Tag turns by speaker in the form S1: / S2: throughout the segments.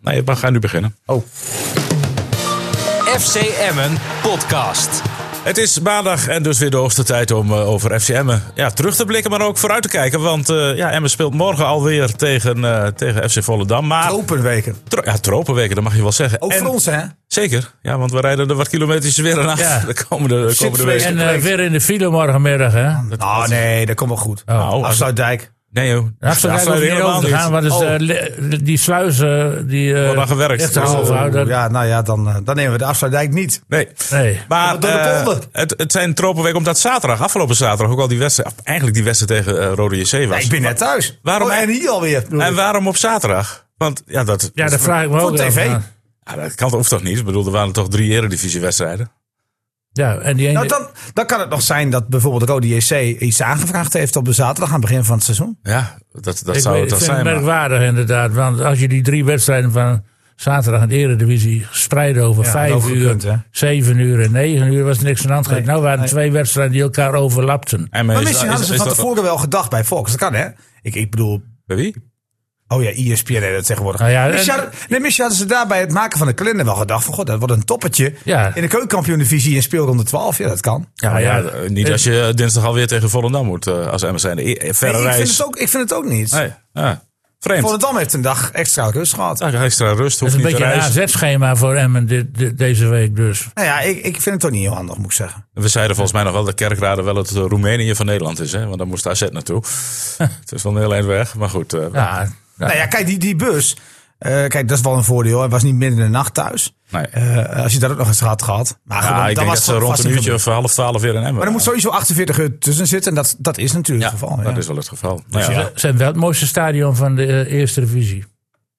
S1: Nee, we gaan nu beginnen.
S2: Oh.
S3: FC Emmen podcast.
S1: Het is maandag en dus weer de hoogste tijd om eh, over FC Emmen ja, terug te blikken, maar ook vooruit te kijken. Want eh, ja, Emmen speelt morgen alweer tegen, eh, tegen FC Volendam. Maar
S2: Tropenweken.
S1: Tro- ja, tropenweken, dat mag je wel zeggen.
S2: Ook
S1: En-
S2: voor ons, hè?
S1: Zeker, ja, want we rijden er wat kilometers weer aan af
S2: Ja.
S1: de komende, de komende
S2: Zit
S1: weken.
S4: En eh, weer in de file morgenmiddag, hè?
S2: Oh nee, dat komt wel goed.
S1: Nou, als-
S2: Afsluitdijk.
S1: nee joh,
S4: Daar hoef ik
S1: afsluiten
S4: eigenlijk niet over te gaan, want dus,
S1: Oh,
S4: eh, li- die sluizen die eh,
S1: Wordt aan gewerkt.
S4: echt eraan
S1: Oh,
S4: overhouden.
S2: Ja, nou ja, dan, eh, dan nemen we de Afsluitdijk niet.
S1: nee.
S4: Nee.
S1: Maar
S2: Door de
S1: eh,
S2: polder.
S1: het, het zijn tropenweken omdat zaterdag, afgelopen zaterdag, ook al die wedstrijd, af- eigenlijk die wedstrijd tegen eh, Rode JC was.
S2: ik ben net thuis.
S1: waarom-
S2: Oh, en hier alweer. bedoel
S1: En
S2: ik.
S1: waarom op zaterdag? Want ja, dat,
S4: Ja, dat vraag ik me
S2: Voor
S4: ook
S2: TV.
S4: af.
S1: ja, dat kan hoeft toch niet? Ik bedoel, er waren toch drie eredivisiewedstrijden?
S4: Ja, en die ene...
S2: Nou, dan, dan kan het nog zijn dat bijvoorbeeld Rode JC iets aangevraagd heeft op de zaterdag aan het begin van het seizoen.
S1: Ja, dat, dat
S4: ik
S1: zou het toch
S4: weet- ik vind het
S1: zijn. maar-
S4: merkwaardig inderdaad, want als je die drie wedstrijden van zaterdag in de eredivisie spreiden over
S2: Ja,
S4: vijf
S2: over een
S4: uur,
S2: punt, hè?
S4: zeven uur en negen uur, was niks aan de hand. Kijk, nou waren
S2: nee.
S4: twee wedstrijden die elkaar overlapten.
S1: En
S2: Maar
S1: is-
S2: misschien
S1: is-
S2: hadden ze
S1: is
S2: van
S1: dat-
S2: tevoren wel gedacht bij Fox. Dat kan, hè? Ik, ik bedoel,
S1: Bij wie?
S2: oh ja, ESPN heeft dat tegenwoordig.
S4: Nou ja,
S2: misschien,
S4: en-
S2: hadden, nee, misschien hadden ze daar bij het maken van de kalender wel gedacht van... God, dat wordt een toppertje
S4: Ja.
S2: in de keukenkampioen-divisie in speelronde 12. Ja, dat kan.
S4: Ja,
S1: Nou ja,
S4: Ah, ja,
S1: eh, niet als je dinsdag alweer tegen Volendam moet eh, als Emmen zijn. E- eh, Verre
S2: Nee, ik, vind
S1: reis.
S2: het ook, ik vind het ook niet.
S1: Nee, ja. Vreemd.
S2: Volendam heeft een dag extra rust gehad.
S1: Ja, extra rust,
S4: dat
S1: hoeft
S4: is een
S1: niet te
S4: beetje een
S1: reizen.
S4: AZ-schema voor Emmen dit- dit- deze week dus.
S2: Nou ja, ik, ik vind het toch niet heel handig, moet ik zeggen.
S1: We zeiden volgens mij nog wel dat Kerkrade wel het eh, Roemenië van Nederland is. Hè? Want daar moest AZ naartoe. het is wel een heel eind weg. Maar goed, eh,
S4: Ja, nou,
S2: Nou ja, kijk, die, die bus. eh, kijk, dat is wel een voordeel. Hij was niet midden in de nacht thuis.
S1: nee.
S2: Eh, als je dat ook nog eens had gehad. Maar goed,
S1: ja, ik
S2: dan
S1: denk
S2: was
S1: dat ze
S2: het
S1: rond
S2: vast
S1: een
S2: niet
S1: uurtje
S2: gebeurd.
S1: of half twaalf weer in Emmen
S2: Maar er moet sowieso 48 uur tussen zitten. En dat, dat is natuurlijk
S1: ja,
S2: het geval.
S1: dat
S2: ja.
S1: is wel het geval. Nou ja,
S4: ze zijn wel het mooiste stadion van de eh, eerste divisie.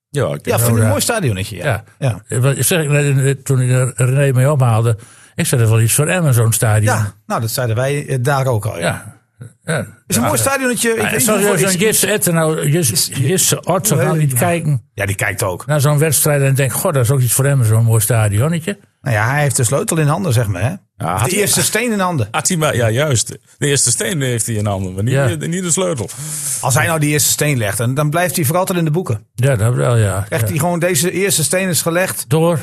S1: ja, ik eh, denk
S2: ja,
S1: dat-
S2: vind ik een mooi stadionnetje. Ja.
S4: Ja.
S2: Ja.
S4: Eh, Wat zeg ik net, eh, toen ik er René mee ophaalde. Ik zei dat wel iets voor Emmen, zo'n stadion.
S2: Ja, nou, dat zeiden wij eh, daar ook al. Ja.
S4: ja. ja.
S2: Is een mooi stadionnetje. Ik weet niet
S4: Zoals
S2: hoeveel-
S4: zo'n
S2: is-
S4: Jesse Etten, nou, Jesse- Jesse Otto
S2: Hoe
S4: gaan
S2: heet
S4: niet
S2: die?
S4: kijken
S2: Ja, die kijkt ook.
S4: naar zo'n wedstrijd en denken, god, dat is ook iets voor Emmen, zo'n mooi stadionnetje.
S2: Nou ja, hij heeft de sleutel in handen, zeg maar. Hè?
S1: Ja, had-
S2: de eerste steen in handen.
S1: had hij maar- ja, juist. De eerste steen heeft hij in handen, maar niet,
S4: Ja.
S1: niet de sleutel.
S2: Als hij nou die eerste steen legt, dan, dan blijft hij voor altijd in de boeken.
S4: Ja, dat wel, ja.
S2: Echt,
S4: Ja.
S2: die gewoon deze eerste steen is gelegd.
S4: Door,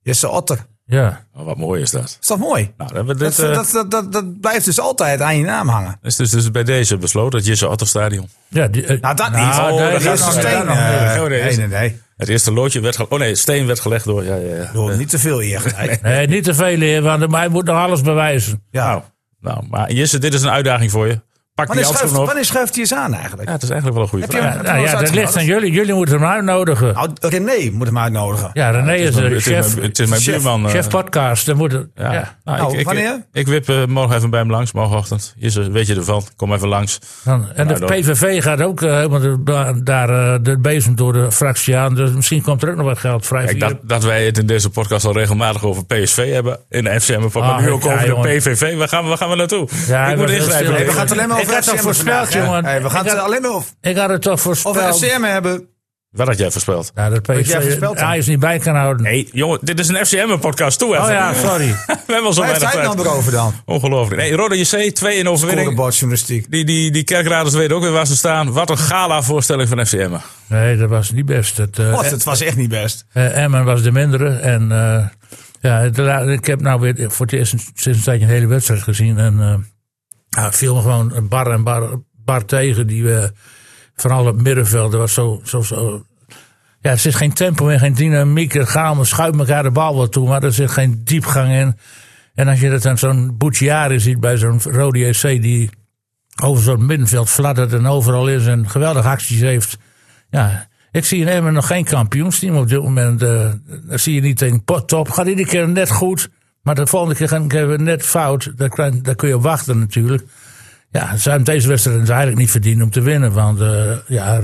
S2: Jesse Otter.
S4: ja.
S1: Oh, wat mooi is dat.
S2: Is dat mooi?
S1: Nou, dan, dit,
S2: Dat,
S1: eh,
S2: dat, dat, dat, dat blijft dus altijd aan je naam hangen.
S1: is dus, dus bij deze besloten, het Jesse Otto Stadion.
S4: ja die, eh,
S2: Nou, dat
S4: nou,
S2: niet.
S1: Oh,
S4: nee,
S1: daar
S2: de
S4: dat
S1: gaat
S2: eerste
S4: nog-
S1: het
S2: steen.
S4: dat nog.
S1: eh,
S2: eh,
S1: Oh, nee,
S2: nee,
S1: is-
S2: nee, nee.
S1: Het eerste loodje werd gelegd. Oh nee, steen werd gelegd door. Ja, ja, ja.
S2: Door niet te veel eer gelijk.
S4: Nee, niet te veel, heer, want hij moet nog alles bewijzen.
S1: Nou,
S2: Ja.
S1: nou, maar Jesse, dit is een uitdaging voor je. Pak die
S2: Wanneer schuift,
S1: handschoenen op.
S2: wanneer schuift hij eens aan eigenlijk?
S1: Ja, het is eigenlijk wel een goede
S2: Heb
S1: vraag.
S2: je-
S4: Ja,
S2: dat
S4: nou,
S2: was
S4: ja, dat
S2: uitgemaakt.
S4: ligt aan jullie. Jullie moeten hem uitnodigen.
S2: Nou, René moet hem uitnodigen.
S4: Ja, René is
S1: Het
S4: de
S1: is mijn-
S4: chef,
S1: Het is mijn
S2: chef-
S1: buurman. eh,
S4: chef podcast. Dan moet het-
S1: Ja.
S4: ja.
S1: Nou,
S2: Nou,
S1: ik, ik,
S2: wanneer?
S1: Ik wip eh, morgen even bij hem langs, morgenochtend. Jesse, weet je ervan? Kom even langs.
S4: Dan, en
S1: Nou,
S4: de
S1: dan-
S4: PVV gaat ook eh, helemaal de- da- daar eh, de bezem door de fractie aan. Dus misschien komt er ook nog wat geld vrij.
S1: Kijk,
S4: via-
S1: dat, dat wij het in deze podcast al regelmatig over PSV hebben. In de FCM, maar
S4: Ah,
S1: nu ook
S4: ja,
S1: over
S4: jongen.
S1: de PVV. Waar gaan we, waar gaan we naartoe?
S4: Ja,
S1: ik
S4: we
S1: moet
S4: zijn
S1: ingrijpen.
S4: stil.
S2: We gaan het alleen maar
S4: Ik
S2: over
S4: had het
S2: FCM
S4: voorspeld,
S2: vandaag, hè?
S4: jongen.
S2: Hey, we gaan
S4: Ik Nou,
S2: het
S4: had-
S2: alleen maar over,
S4: Ik had het toch
S2: over
S4: voorspeld.
S2: FCM hebben.
S1: Wat had jij voorspeld?
S4: Ja, dat
S2: jij
S4: PVV
S2: voorspeld dan?
S4: Ajax niet bij kan houden.
S1: Nee, jongen, dit is een FCM-podcast. Toe even.
S4: Oh ja, sorry.
S1: we hebben al zo
S2: Waar heeft
S1: weinig
S2: hij het
S1: tijd.
S2: nou over dan?
S1: Ongelooflijk. Nee, Roda JC, 2 in overwinning.
S2: Scorebordjournalistiek.
S4: Eh,
S1: Die, die, die kerkraders weten ook weer waar ze staan. Wat een gala-voorstelling van FCM.
S4: Nee, dat was niet best. Het, eh,
S2: God, het was echt niet best.
S4: eh, Emmen was de mindere. En eh, ja, het la- ik heb nou weer voor het eerst sinds een tijdje een hele wedstrijd gezien. En eh, nou, het viel me gewoon een bar en bar, bar tegen. Die, eh, vooral het middenveld. Er was zo, zo, zo. Ja, er zit geen tempo in, geen dynamiek. Het gaat allemaal, schuift elkaar de bal wel toe, maar er zit geen diepgang in. En als je dat aan zo'n Bucciari ziet bij zo'n Rode EC die over zo'n middenveld fladdert en overal is en geweldige acties heeft. Ja, ik zie in Emmen nog geen kampioensteam op dit moment. eh, dat zie je niet tegen pot- top. Gaat iedere keer net goed, maar de volgende keer gaan gaan we net fout. Daar, kan- daar kun je op wachten natuurlijk. Ja, ze hebben deze wedstrijd eigenlijk niet verdiend om te winnen. Want eh, ja,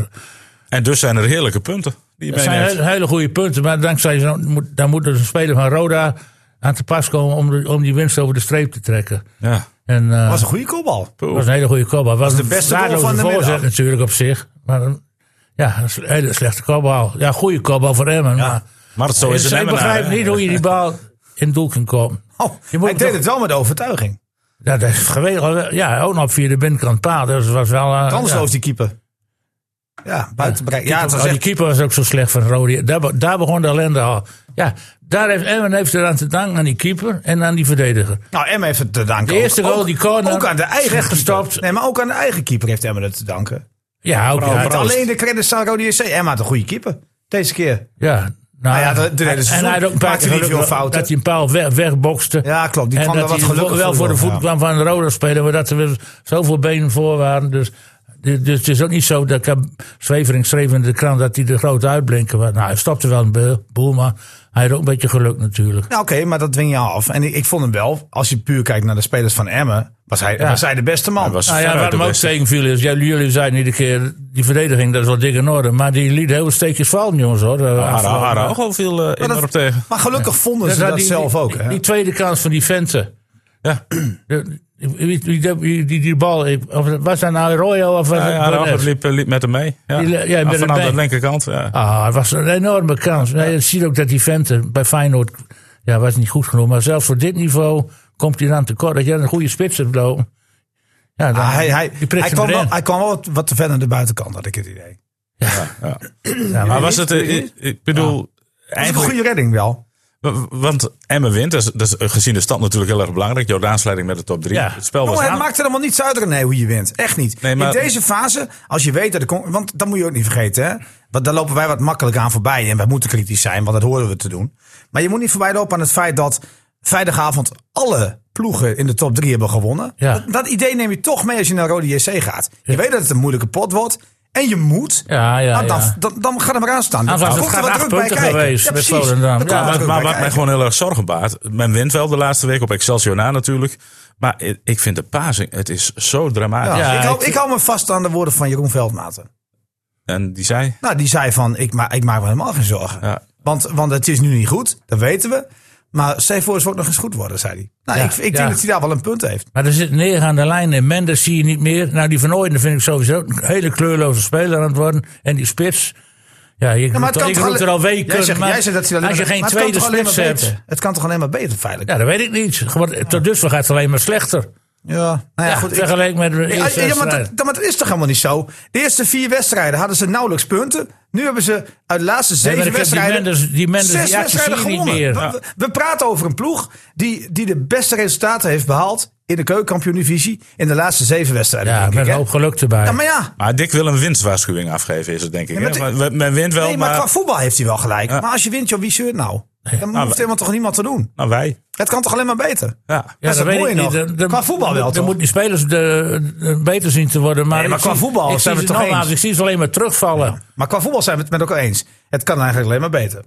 S1: En dus zijn er heerlijke punten. Die je
S4: dat zijn
S1: meeneemt.
S4: hele, hele goede punten. Maar dankzij zo'n- moet- daar moet dus een speler van Roda aan te pas komen om, de- om die winst over de streep te trekken.
S1: Ja.
S4: En, eh,
S2: was een goede kopbal.
S4: dat was een hele goede kopbal. Het was de
S2: beste goal van de
S4: voorzet
S2: middag.
S4: natuurlijk op zich. Maar een- ja, een sle- hele slechte kopbal. Ja, goede kopbal voor Emmen. Maar,
S1: Maar zo is het
S4: dus ik begrijp niet hoe je die bal in doel kan komen.
S2: Oh,
S4: Je
S2: hij
S4: moet
S2: deed
S4: toch-
S2: het wel met overtuiging.
S4: Ja, dat is geweldig. Ja, ook nog via de binnenkant paal. Dus het was wel... eh,
S2: Kansloos
S4: ja.
S2: die keeper. Ja, buiten bereik. Ja, het was
S4: Oh, die
S2: echt,
S4: keeper was ook zo slecht van Rode. Daar, be- daar begon de ellende al. Ja, daar heeft Emmen heeft eraan te danken aan die keeper en aan die verdediger.
S2: nou, Emma heeft het te danken.
S4: De eerste
S2: ook-
S4: goal,
S2: ook-
S4: die corner,
S2: Ook aan de eigen
S4: slecht
S2: keeper.
S4: gestopt.
S2: Nee, maar ook aan de eigen keeper heeft Emma het te danken.
S4: Ja, ook ja,
S2: Met alleen de credits aan Rode JC. Emma had een goede keeper. Deze keer.
S4: Ja, nou,
S2: Nou ja, dat- dat
S4: en,
S2: deden ze
S4: en hij had ook een paar
S2: Maakte
S4: keer
S2: niet veel
S4: geluk dat-
S2: fouten.
S4: dat hij een paal weg, wegbokste.
S2: Ja, klopt. Die
S4: en
S2: kwam er
S4: dat
S2: wat
S4: hij
S2: gelukkig
S4: wel voor de voet
S2: ja.
S4: kwam van de rode speler, maar dat er weer zoveel benen voor waren. Dus, dus het is ook niet zo dat Kab- Zwevering schreef in de krant dat hij de grote uitblinker was. Nou, hij stopte wel een be- boel, maar hij had ook een beetje geluk natuurlijk.
S2: Nou, oké, maar dat dwing je af. En ik, ik vond hem wel, als je puur kijkt naar de spelers van Emmen, was hij, was hij de beste man.
S1: was
S4: Nou ja,
S1: veruit
S4: wat
S1: de
S4: me ook
S1: beste.
S4: tegenviel is, ja, jullie zeiden iedere keer, die verdediging, dat is wel dik in orde. Maar die liet heel veel steekjes vallen, jongens hoor.
S1: Hara,
S4: Afgelopen-
S1: Hara ook al veel eh,
S2: Maar dat-
S1: enorm tegen.
S2: Maar gelukkig vonden ze
S4: Ja,
S2: dat,
S4: die-
S2: zelf
S4: die-
S2: ook.
S4: Die,
S2: hè?
S4: die tweede kans van die venten.
S1: Ja.
S4: De- Wie, wie- wie- die, die, die bal, ik- of was dat nou Arroyo of was
S1: Ja,
S4: het
S1: ja,
S4: Burnett?
S1: Rafa liep, liep met hem mee. Ja.
S4: Die li- ja, met hem
S1: Vanaf
S4: mee.
S1: de linkerkant. Ja.
S4: Ah, het was een enorme kans. Nee, je ziet ook dat die venten bij Feyenoord, ja, was niet goed genoeg. Maar zelfs voor dit niveau komt hij dan tekort. Dat je een goede spits hebt lopen. Ja, dan,
S2: Ah, hij, hij,
S4: die prikt
S2: hij,
S4: hem
S2: kwam wel,
S4: erin.
S2: hij kwam wel wat, wat te ver naar de buitenkant, had ik het idee.
S4: Ja,
S1: Maar
S4: maar
S1: was het, eh, ik, ik bedoel,
S2: Dat is een
S1: eigenlijk,
S2: goede redding wel.
S1: w- want Emmen wint, dat is, dat is gezien de stand natuurlijk heel erg belangrijk. Jordaans leiding met de top 3.
S4: Ja.
S1: Nou, Het spel was
S2: Jongen, het
S1: aan.
S2: maakt er allemaal niets uit René, hoe je wint. Echt niet.
S1: Nee, maar-
S2: In deze fase, als je weet dat de... con- Want dat moet je ook niet vergeten. Hè? Want daar lopen wij wat makkelijk aan voorbij. En wij moeten kritisch zijn, want dat horen we te doen. Maar je moet niet voorbij lopen aan het feit dat... vrijdagavond alle ploegen in de top 3 hebben gewonnen.
S4: Ja.
S2: Dat, dat idee neem je toch mee als je naar Rode JC gaat. Je weet dat het een moeilijke pot wordt. En je moet.
S4: Ja, ja,
S2: Nou, dan,
S4: ja.
S2: dan, dan ga er maar aan staan. Dan
S4: Aanvankelijk
S2: komt er
S4: gaat
S2: wat
S4: acht
S2: druk bij
S4: punten
S2: kijken.
S4: geweest
S2: ja,
S4: met
S2: precies. Dan
S4: Volendam.
S2: komt
S4: Ja,
S2: er
S1: Maar,
S2: druk
S1: maar
S2: bij
S1: wat mij
S2: kijken.
S1: gewoon heel erg zorgen baart. Men wint wel de laatste week op Excelsior na natuurlijk. Maar ik- ik vind de pasing, het is zo dramatisch.
S2: Ja,
S4: Ja,
S2: ik, hou,
S4: ik-
S2: ik hou me vast aan de woorden van Jeroen Veldmaten.
S1: En die zei,
S2: Nou, die zei van, ik, ma ik maak me helemaal geen zorgen.
S1: Ja.
S2: Want, want het is nu niet goed, dat weten we. Maar stel je voor, het wordt nog eens goed worden, zei hij. Nou,
S4: Ja,
S2: ik, ik
S4: ja.
S2: denk dat hij daar wel een punt heeft.
S4: Maar er zit neergaande lijn en Mendes zie je niet meer. Nou, die Van Ooyen vind ik sowieso een hele kleurloze speler aan het worden. En die spits. Ja, ik,
S2: Ja,
S4: roep er- ik roep er al weken.
S2: jij zegt,
S4: maar
S2: jij zegt dat hij alleen
S4: als je
S2: maar-
S4: geen
S2: maar het kan
S4: tweede
S2: toch alleen
S4: spits
S2: maar
S4: hebt.
S2: beter? Het kan toch alleen maar beter, feitelijk?
S4: Ja, dat weet ik niet. Gewoon, Tot dusver gaat het alleen maar slechter.
S2: Ja, nou ja, goed. ik-
S4: vergeleken met de
S2: Ja,
S4: eerste
S2: ja, maar,
S4: wedstrijd.
S2: dat, dat- maar dat is toch helemaal niet zo? De eerste vier wedstrijden hadden ze nauwelijks punten. Nu hebben ze uit de laatste
S4: maar
S2: zeven
S4: ik heb die
S2: wedstrijden
S4: Mendes- die Mendes,
S2: zes
S4: die acties
S2: wedstrijden
S4: zie je niet
S2: gewonnen.
S4: meer.
S2: We, we praten over een ploeg die, die de beste resultaten heeft behaald in de keukenkampioen-divisie in de laatste zeven wedstrijden.
S4: Ja,
S2: denk
S4: met
S2: ik,
S4: een
S2: hè?
S4: hoop geluk erbij.
S2: Ja, maar ja.
S1: maar Dick wil een winstwaarschuwing afgeven is het denk ik.
S2: Ja, maar
S1: hè?
S2: het-
S1: Maar we- men wint wel,
S2: Nee, maar,
S1: maar,
S2: qua voetbal heeft hij wel gelijk.
S1: Ja.
S2: Maar als je wint, joh, wie zeurt nou? Dan
S1: maar-
S2: hoeft helemaal toch niemand te doen.
S1: nou, wij.
S2: Het kan toch alleen maar beter?
S1: Ja.
S4: ja,
S2: dat is het
S4: weet
S2: mooie
S4: ik
S2: nog.
S4: Er- er-
S2: Qua voetbal wel,
S4: er
S2: toch?
S4: moeten die spelers de, de- beter zien te worden. Maar,
S2: Nee, maar
S4: ik
S2: qua
S4: zie-
S2: voetbal
S4: ik
S2: zijn
S4: zie
S2: we
S4: ze
S2: het toch
S4: nogmaals,
S2: eens?
S4: Ik zie ze alleen maar terugvallen.
S2: Maar qua voetbal zijn we het met elkaar eens. Het kan eigenlijk alleen maar beter.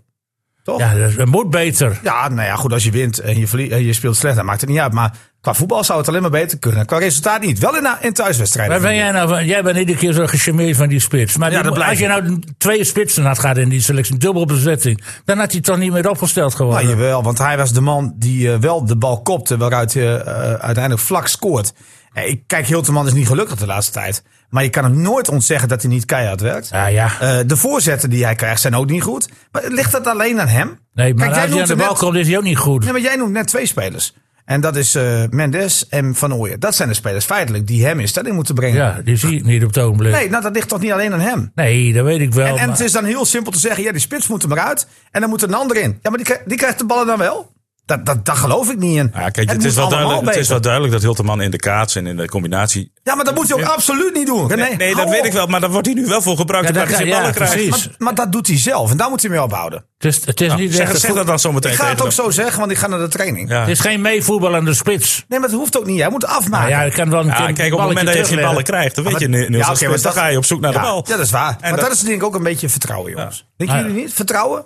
S2: Toch?
S4: Ja, dat, dat moet beter.
S2: Ja, nou ja, goed, als je wint en je, verlie- en je speelt slecht, dan maakt het niet uit. Maar qua voetbal zou het alleen maar beter kunnen. Qua resultaat niet. Wel in, in thuiswedstrijden.
S4: Waar ben jij nou van? Jij bent iedere keer zo gecharmeerd van die spits. Maar die
S2: Ja, dat
S4: mo-
S2: blijft
S4: als je nou twee spitsen had gehad in die selectie, dubbel bezetting, dan had hij toch niet meer
S2: Nou,
S4: opgesteld geworden.
S2: jawel, want hij was de man die eh, wel de bal kopte, waaruit je eh, uiteindelijk vlak scoort. Eh, ik kijk, Hilterman is niet gelukkig de laatste tijd. Maar je kan hem nooit ontzeggen dat hij niet keihard werkt.
S4: Ah, ja, ja.
S2: Eh, de voorzetten die hij krijgt zijn ook niet goed. Maar ligt dat alleen aan hem?
S4: Nee,
S2: Kijk,
S4: maar
S2: jij
S4: als hij aan
S2: noemt
S4: de
S2: er
S4: bal
S2: net-
S4: komt, is hij ook niet goed.
S2: Ja, maar jij noemt net twee spelers. En dat is eh, Mendes en Van Ooyen. Dat zijn de spelers feitelijk die hem in stelling moeten brengen.
S4: Ja, die zie ik niet op het ogenblik. Nee,
S2: Nee, nou, dat ligt toch niet alleen aan hem?
S4: dat weet ik wel.
S1: Oh,
S2: En, en
S4: maar-
S2: het is dan heel simpel te zeggen: ja, die spits moet er maar uit. En dan moet er een ander in. Ja, maar die, krijgt- die krijgt de ballen dan wel? Dat, dat, dat geloof ik niet in.
S1: Ja, kijk, het,
S2: moet
S1: is wel
S2: allemaal
S1: duidelijk, het is
S2: beter.
S1: wel duidelijk dat Hilterman in de kaats en in de combinatie...
S2: Ja, maar dat moet hij ook absoluut niet doen. René,
S1: Nee, nee dat
S2: hou
S1: weet
S2: op.
S1: ik wel, maar daar wordt hij nu wel voor gebruikt.
S4: Ja,
S1: omdat
S4: dat
S1: hij
S4: kan-
S1: zijn ballen
S4: ja,
S1: krijgt.
S4: precies.
S1: Maar-
S2: Maar, maar dat doet hij zelf. En daar moet hij mee ophouden.
S4: het is, het is
S2: Nou,
S4: niet
S1: Nou, Zeg,
S4: echt
S1: zeg dat dan zometeen
S2: Ik ga
S1: tegen
S2: het ook Dus
S1: hem.
S2: zo zeggen, want ik ga naar de training.
S1: Ja.
S4: Het is geen meevoetbal aan de spits.
S2: Nee, maar dat hoeft ook niet. Hij moet afmaken.
S4: Nou ja, ik kan wel een keer
S1: Ja,
S4: een
S1: kijk, op het moment
S4: balletje
S1: dat je geen
S4: terugleggen.
S1: ballen krijgt, dan weet je,
S2: Maar-
S1: Niels, als
S2: oké,
S1: spits,
S2: maar
S1: dan ga je op zoek naar de
S2: ja,
S1: bal.
S2: Ja, dat is waar. maar
S1: dat-
S2: dat, is denk ik ook een beetje vertrouwen, jongens. Denken
S4: Ah, ja.
S2: jullie niet? Vertrouwen?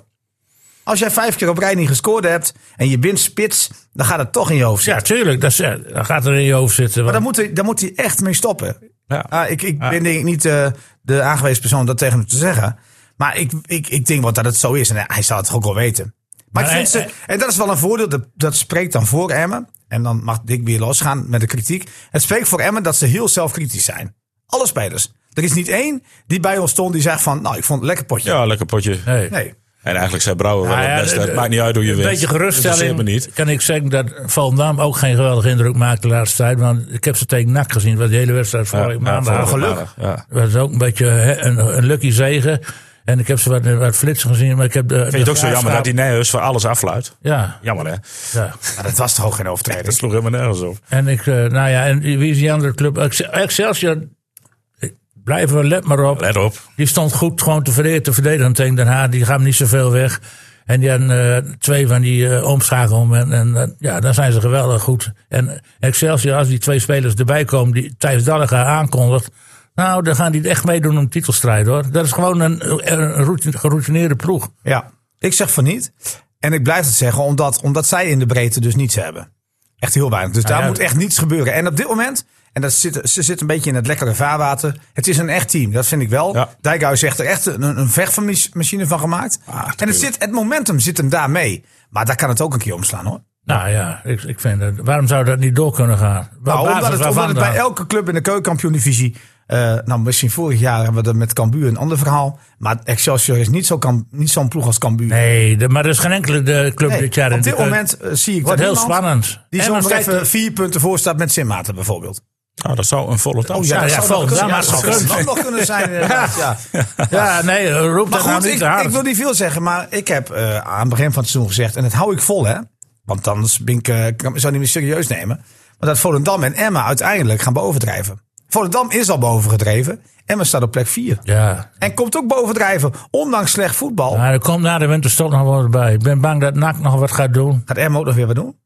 S2: Als jij vijf keer op rij niet gescoord hebt en je bent spits, dan gaat het toch in je hoofd zitten.
S4: Ja, tuurlijk. Dat, is- ja, dat gaat er in je hoofd zitten.
S2: Maar
S4: want-
S2: daar moet, hij, daar moet hij echt mee stoppen.
S1: Ja.
S2: Ah, ik ik ben denk ik niet eh, de aangewezen persoon om dat tegen hem te zeggen. Maar ik, ik, ik denk wel dat het zo is. En hij zal het toch ook wel weten. Maar,
S4: Maar
S2: ik vind
S4: hij-
S2: ze, en dat is wel een voordeel. Dat, dat spreekt dan voor Emmen. En dan mag Dick weer losgaan met de kritiek. Het spreekt voor Emmen dat ze heel zelfkritisch zijn. Alle spelers. Er is niet één die bij ons stond die zegt van... Nou, ik vond het een lekker potje.
S1: Ja, lekker potje.
S4: nee.
S2: Nee.
S1: En eigenlijk zijn Brouwer wel
S4: Nou ja,
S1: het beste.
S4: de-
S1: Het maakt niet uit hoe je
S4: Een
S1: wint.
S4: beetje
S1: Interesseert
S4: geruststelling
S1: me niet.
S4: kan ik zeggen dat Valdam ook geen geweldige indruk maakt de laatste tijd. Want ik heb ze tegen NAC gezien, wat die hele wedstrijd vorige
S1: Ja,
S4: maandag.
S1: ja,
S4: had.
S1: vorige maandag, ja.
S4: Dat is ook een beetje hè, een, een lucky zegen. En ik heb ze wat, wat flitsen gezien. Maar ik heb de,
S1: Vind je het ook zo jammer dat die Nijhuis voor alles afluit?
S4: Ja,
S1: Jammer hè?
S4: ja.
S2: Maar dat was toch ook geen
S1: Dat
S2: overtreding?
S1: sloeg helemaal nergens op.
S4: En ik, eh, nou ja, en wie is die andere club? Excel- Excelsior. Ik- Blijven we, let maar op.
S1: Let op.
S4: Die stond goed gewoon te verdedigen, te verdedigen tegen Den Haag. Die gaan niet zoveel weg. En die hadden eh, twee van die eh, omschakelmomenten. En eh, ja, dan zijn ze geweldig goed. En Excelsior, als die twee spelers erbij komen die Thijs Dallega aankondigt... Nou, dan gaan die echt meedoen om titelstrijd, hoor. Dat is gewoon een, een routine- geroutineerde ploeg.
S2: Ja, ik zeg van niet. En ik blijf het zeggen, omdat, omdat zij in de breedte dus niets hebben. Echt heel weinig. Dus daar
S4: ja,
S2: moet
S4: dat-
S2: echt niets gebeuren. En op dit moment, en dat zit, ze zit een beetje in het lekkere vaarwater. Het is een echt team, dat vind ik wel.
S1: Ja.
S2: Dijkhuis heeft er echt een, een vechtmachine van gemaakt.
S4: Ah,
S2: en het, zit, het momentum zit hem daar mee. Maar daar kan het ook een keer omslaan hoor.
S4: Nou ja, ik, ik vind dat, waarom zou dat niet door kunnen gaan? Op
S2: Nou,
S4: basis
S2: omdat het,
S4: waarvan eh?
S2: omdat het
S4: dan?
S2: bij elke club in de keukenkampioen-divisie... eh, nou, misschien vorig jaar hebben we er met Cambuur een ander verhaal. Maar Excelsior is niet zo'n kam- niet zo'n ploeg als Cambuur.
S4: Nee, de- maar er is geen enkele de club
S2: Nee,
S4: dit jaar in
S2: op
S4: de
S2: dit
S4: keuken.
S2: moment eh, zie ik
S4: Wordt
S2: dat
S4: heel
S2: iemand
S4: spannend.
S2: Die
S4: En
S2: zo
S4: dan
S2: nog
S4: kijkt-
S2: even vier punten voor staat met Sint Maarten bijvoorbeeld.
S1: Nou, dat zou een volle toon
S2: Oh,
S4: Oh, ja,
S1: zijn.
S4: ja,
S2: zou wel
S4: Volendam
S2: kunnen.
S4: had
S2: dat
S4: gekund.
S2: zou wel nog kunnen zijn inderdaad. Ja.
S4: Ja, nee, roep
S2: Maar
S4: dat nou
S2: goed,
S4: niet
S2: ik,
S4: te hard.
S2: ik wil niet veel zeggen, maar ik heb eh, aan het begin van het seizoen gezegd... en dat hou ik vol hè, want anders ben ik, eh, kan- zou ik niet meer serieus nemen... maar dat Volendam en Emma uiteindelijk gaan bovendrijven. Volendam is al bovengedreven, Emma staat op plek 4.
S4: Ja,
S2: En komt ook bovendrijven, ondanks slecht voetbal...
S4: maar er komt na de winterstop nog wel wat bij. Ik ben bang dat NAC nog wat gaat doen.
S2: Gaat Emma ook nog weer wat doen?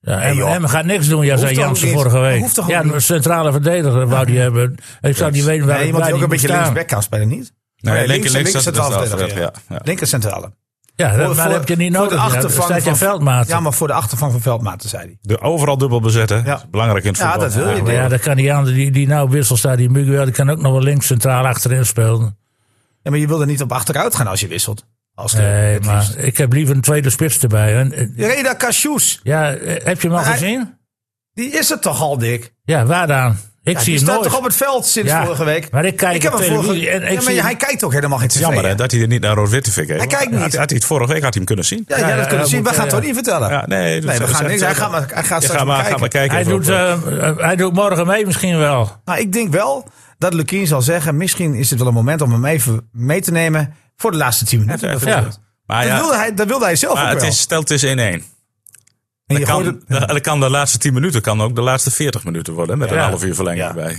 S4: Ja,
S2: Nee,
S4: en
S2: joh.
S4: Emmen gaat niks doen, ja,
S2: Hoeft
S4: zei
S2: toch
S4: Jansen
S2: ook niet?
S4: vorige week.
S2: Hoeft toch ook
S4: ja,
S2: niet?
S4: een centrale verdediger wou die hebben. Ik zou niet weten waar
S2: Nee, iemand
S4: waar
S2: die ook een beetje
S4: moet staan.
S2: linksback kan spelen, niet?
S1: Nee,
S2: Nee,
S1: linker-
S2: Nou links-
S1: links-
S2: links-
S1: centraal
S2: centraal
S1: verdediger,
S2: verdediger,
S1: ja.
S2: Linker centrale.
S4: Ja, dat, maar
S2: voor-
S4: dat heb je niet
S2: voor de
S4: nodig. Ja, Dan
S2: achtervang
S4: staat je
S2: van-
S4: veldmaat.
S2: Ja, maar voor de achtervang van Veldmaten, zei hij.
S1: De overal dubbel bezetten.
S2: Ja.
S1: Dat is Belangrijk in het
S2: Ja,
S1: voetbal.
S2: dat wil je.
S4: Maar ja, dan kan die andere die, die nou wissel staat, die Miguel, die kan ook nog wel links centraal achterin spelen.
S2: Ja, maar je wil er niet op achteruit gaan als je wisselt. Als de-
S4: Nee,
S2: het
S4: maar
S2: liefst.
S4: ik heb liever een tweede spits erbij. En, eh,
S2: Reda Cashews,
S4: Ja, eh, heb je hem al
S2: Maar hij-
S4: gezien?
S2: die is het toch al, Dick?
S4: Ja, waar dan?
S2: Ja,
S4: Ik zie
S2: die
S4: hem
S2: staat
S4: nooit.
S2: toch op het veld sinds
S4: Ja,
S2: vorige week?
S4: maar ik kijk
S2: heb
S4: op
S2: hem
S4: televisie en ik
S2: Ja, maar
S4: zie hem-
S2: hij kijkt ook helemaal geen tv.
S1: Jammer hè, dat hij er niet naar rood-witte heeft.
S2: Hij kijkt niet.
S1: Had, had hij het vorige week had hij hem kunnen zien.
S2: Ja, ja, dat
S4: Ja, ja,
S2: kunnen we
S4: hij
S2: zien.
S4: moet,
S2: We gaan het
S4: eh,
S2: toch niet vertellen?
S1: Ja, nee,
S2: nee, we gaan niks. Hij gaat, maar, hij gaat
S1: Ja,
S2: straks
S1: ga maar,
S2: maar
S1: ga maar
S2: kijken.
S1: kijken.
S4: Hij,
S1: of-
S4: doet,
S1: of-
S4: eh, eh, hij doet morgen mee misschien wel.
S2: Nou, ik denk wel dat Lukien zal zeggen... misschien is het wel een moment om hem even mee te nemen... voor de laatste tien minuten.
S1: even-
S2: bijvoorbeeld.
S4: ja.
S1: Maar
S2: Dat,
S1: Ah, ja,
S2: wilde hij, dat wilde hij zelf
S1: maar
S2: ook
S1: het
S2: wel.
S1: is, stel het is 1-1.
S2: en
S1: Dan
S2: je
S1: kan,
S2: gooide-
S1: dan- dan kan de laatste 10 minuten kan ook de laatste 40 minuten worden. Met een
S4: Ja.
S1: half uur verlenging
S2: Ja.
S1: bij.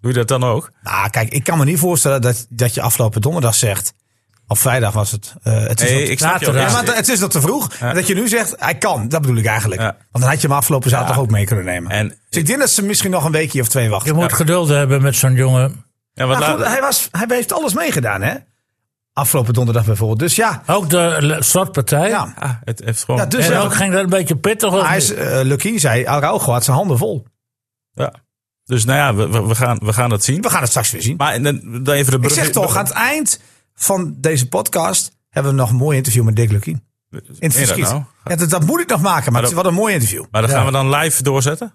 S1: Doe je dat dan ook?
S2: Nou, kijk, ik kan me niet voorstellen dat, dat je afgelopen donderdag zegt... of vrijdag was het... eh, het is nog-
S1: Nee, ik snap je. ook.
S4: later,
S2: Ja,
S1: Ja,
S2: maar het is nog te vroeg. En Dat je nu zegt, hij kan. Dat bedoel ik eigenlijk.
S1: Ja.
S2: Want dan had je hem afgelopen zaterdag ook mee kunnen nemen.
S1: En-
S2: dus ik denk dat ze misschien nog een weekje of twee
S4: Je
S2: wachten.
S4: moet geduld hebben met zo'n jongen.
S1: Ja, want
S2: Maar goed,
S1: laat-
S2: hij, was, hij heeft alles meegedaan, hè? Afgelopen donderdag bijvoorbeeld. Dus ja,
S4: Ook de le- slotpartij.
S2: ja.
S1: Ah, het heeft gewoon...
S2: eh. Ja, dus-
S4: en ook ging dat een beetje pittig. of
S2: Hij
S4: niet?
S2: is, eh, Lucky zei, Araujo had zijn handen vol.
S1: ja. Dus nou ja, we, we- we, gaan, we gaan dat zien.
S2: We gaan het straks weer zien.
S1: Maar en dan, dan even de
S2: Ik
S1: brug-
S2: zeg toch, aan het eind van deze podcast hebben we nog een mooi interview met Dick Lucky. In het
S1: Meen je dat
S2: verschiet.
S1: nou?
S2: Ja, dat, dat moet ik nog maken, maar, het is wel een mooi interview.
S1: Maar dat gaan we dan live doorzetten?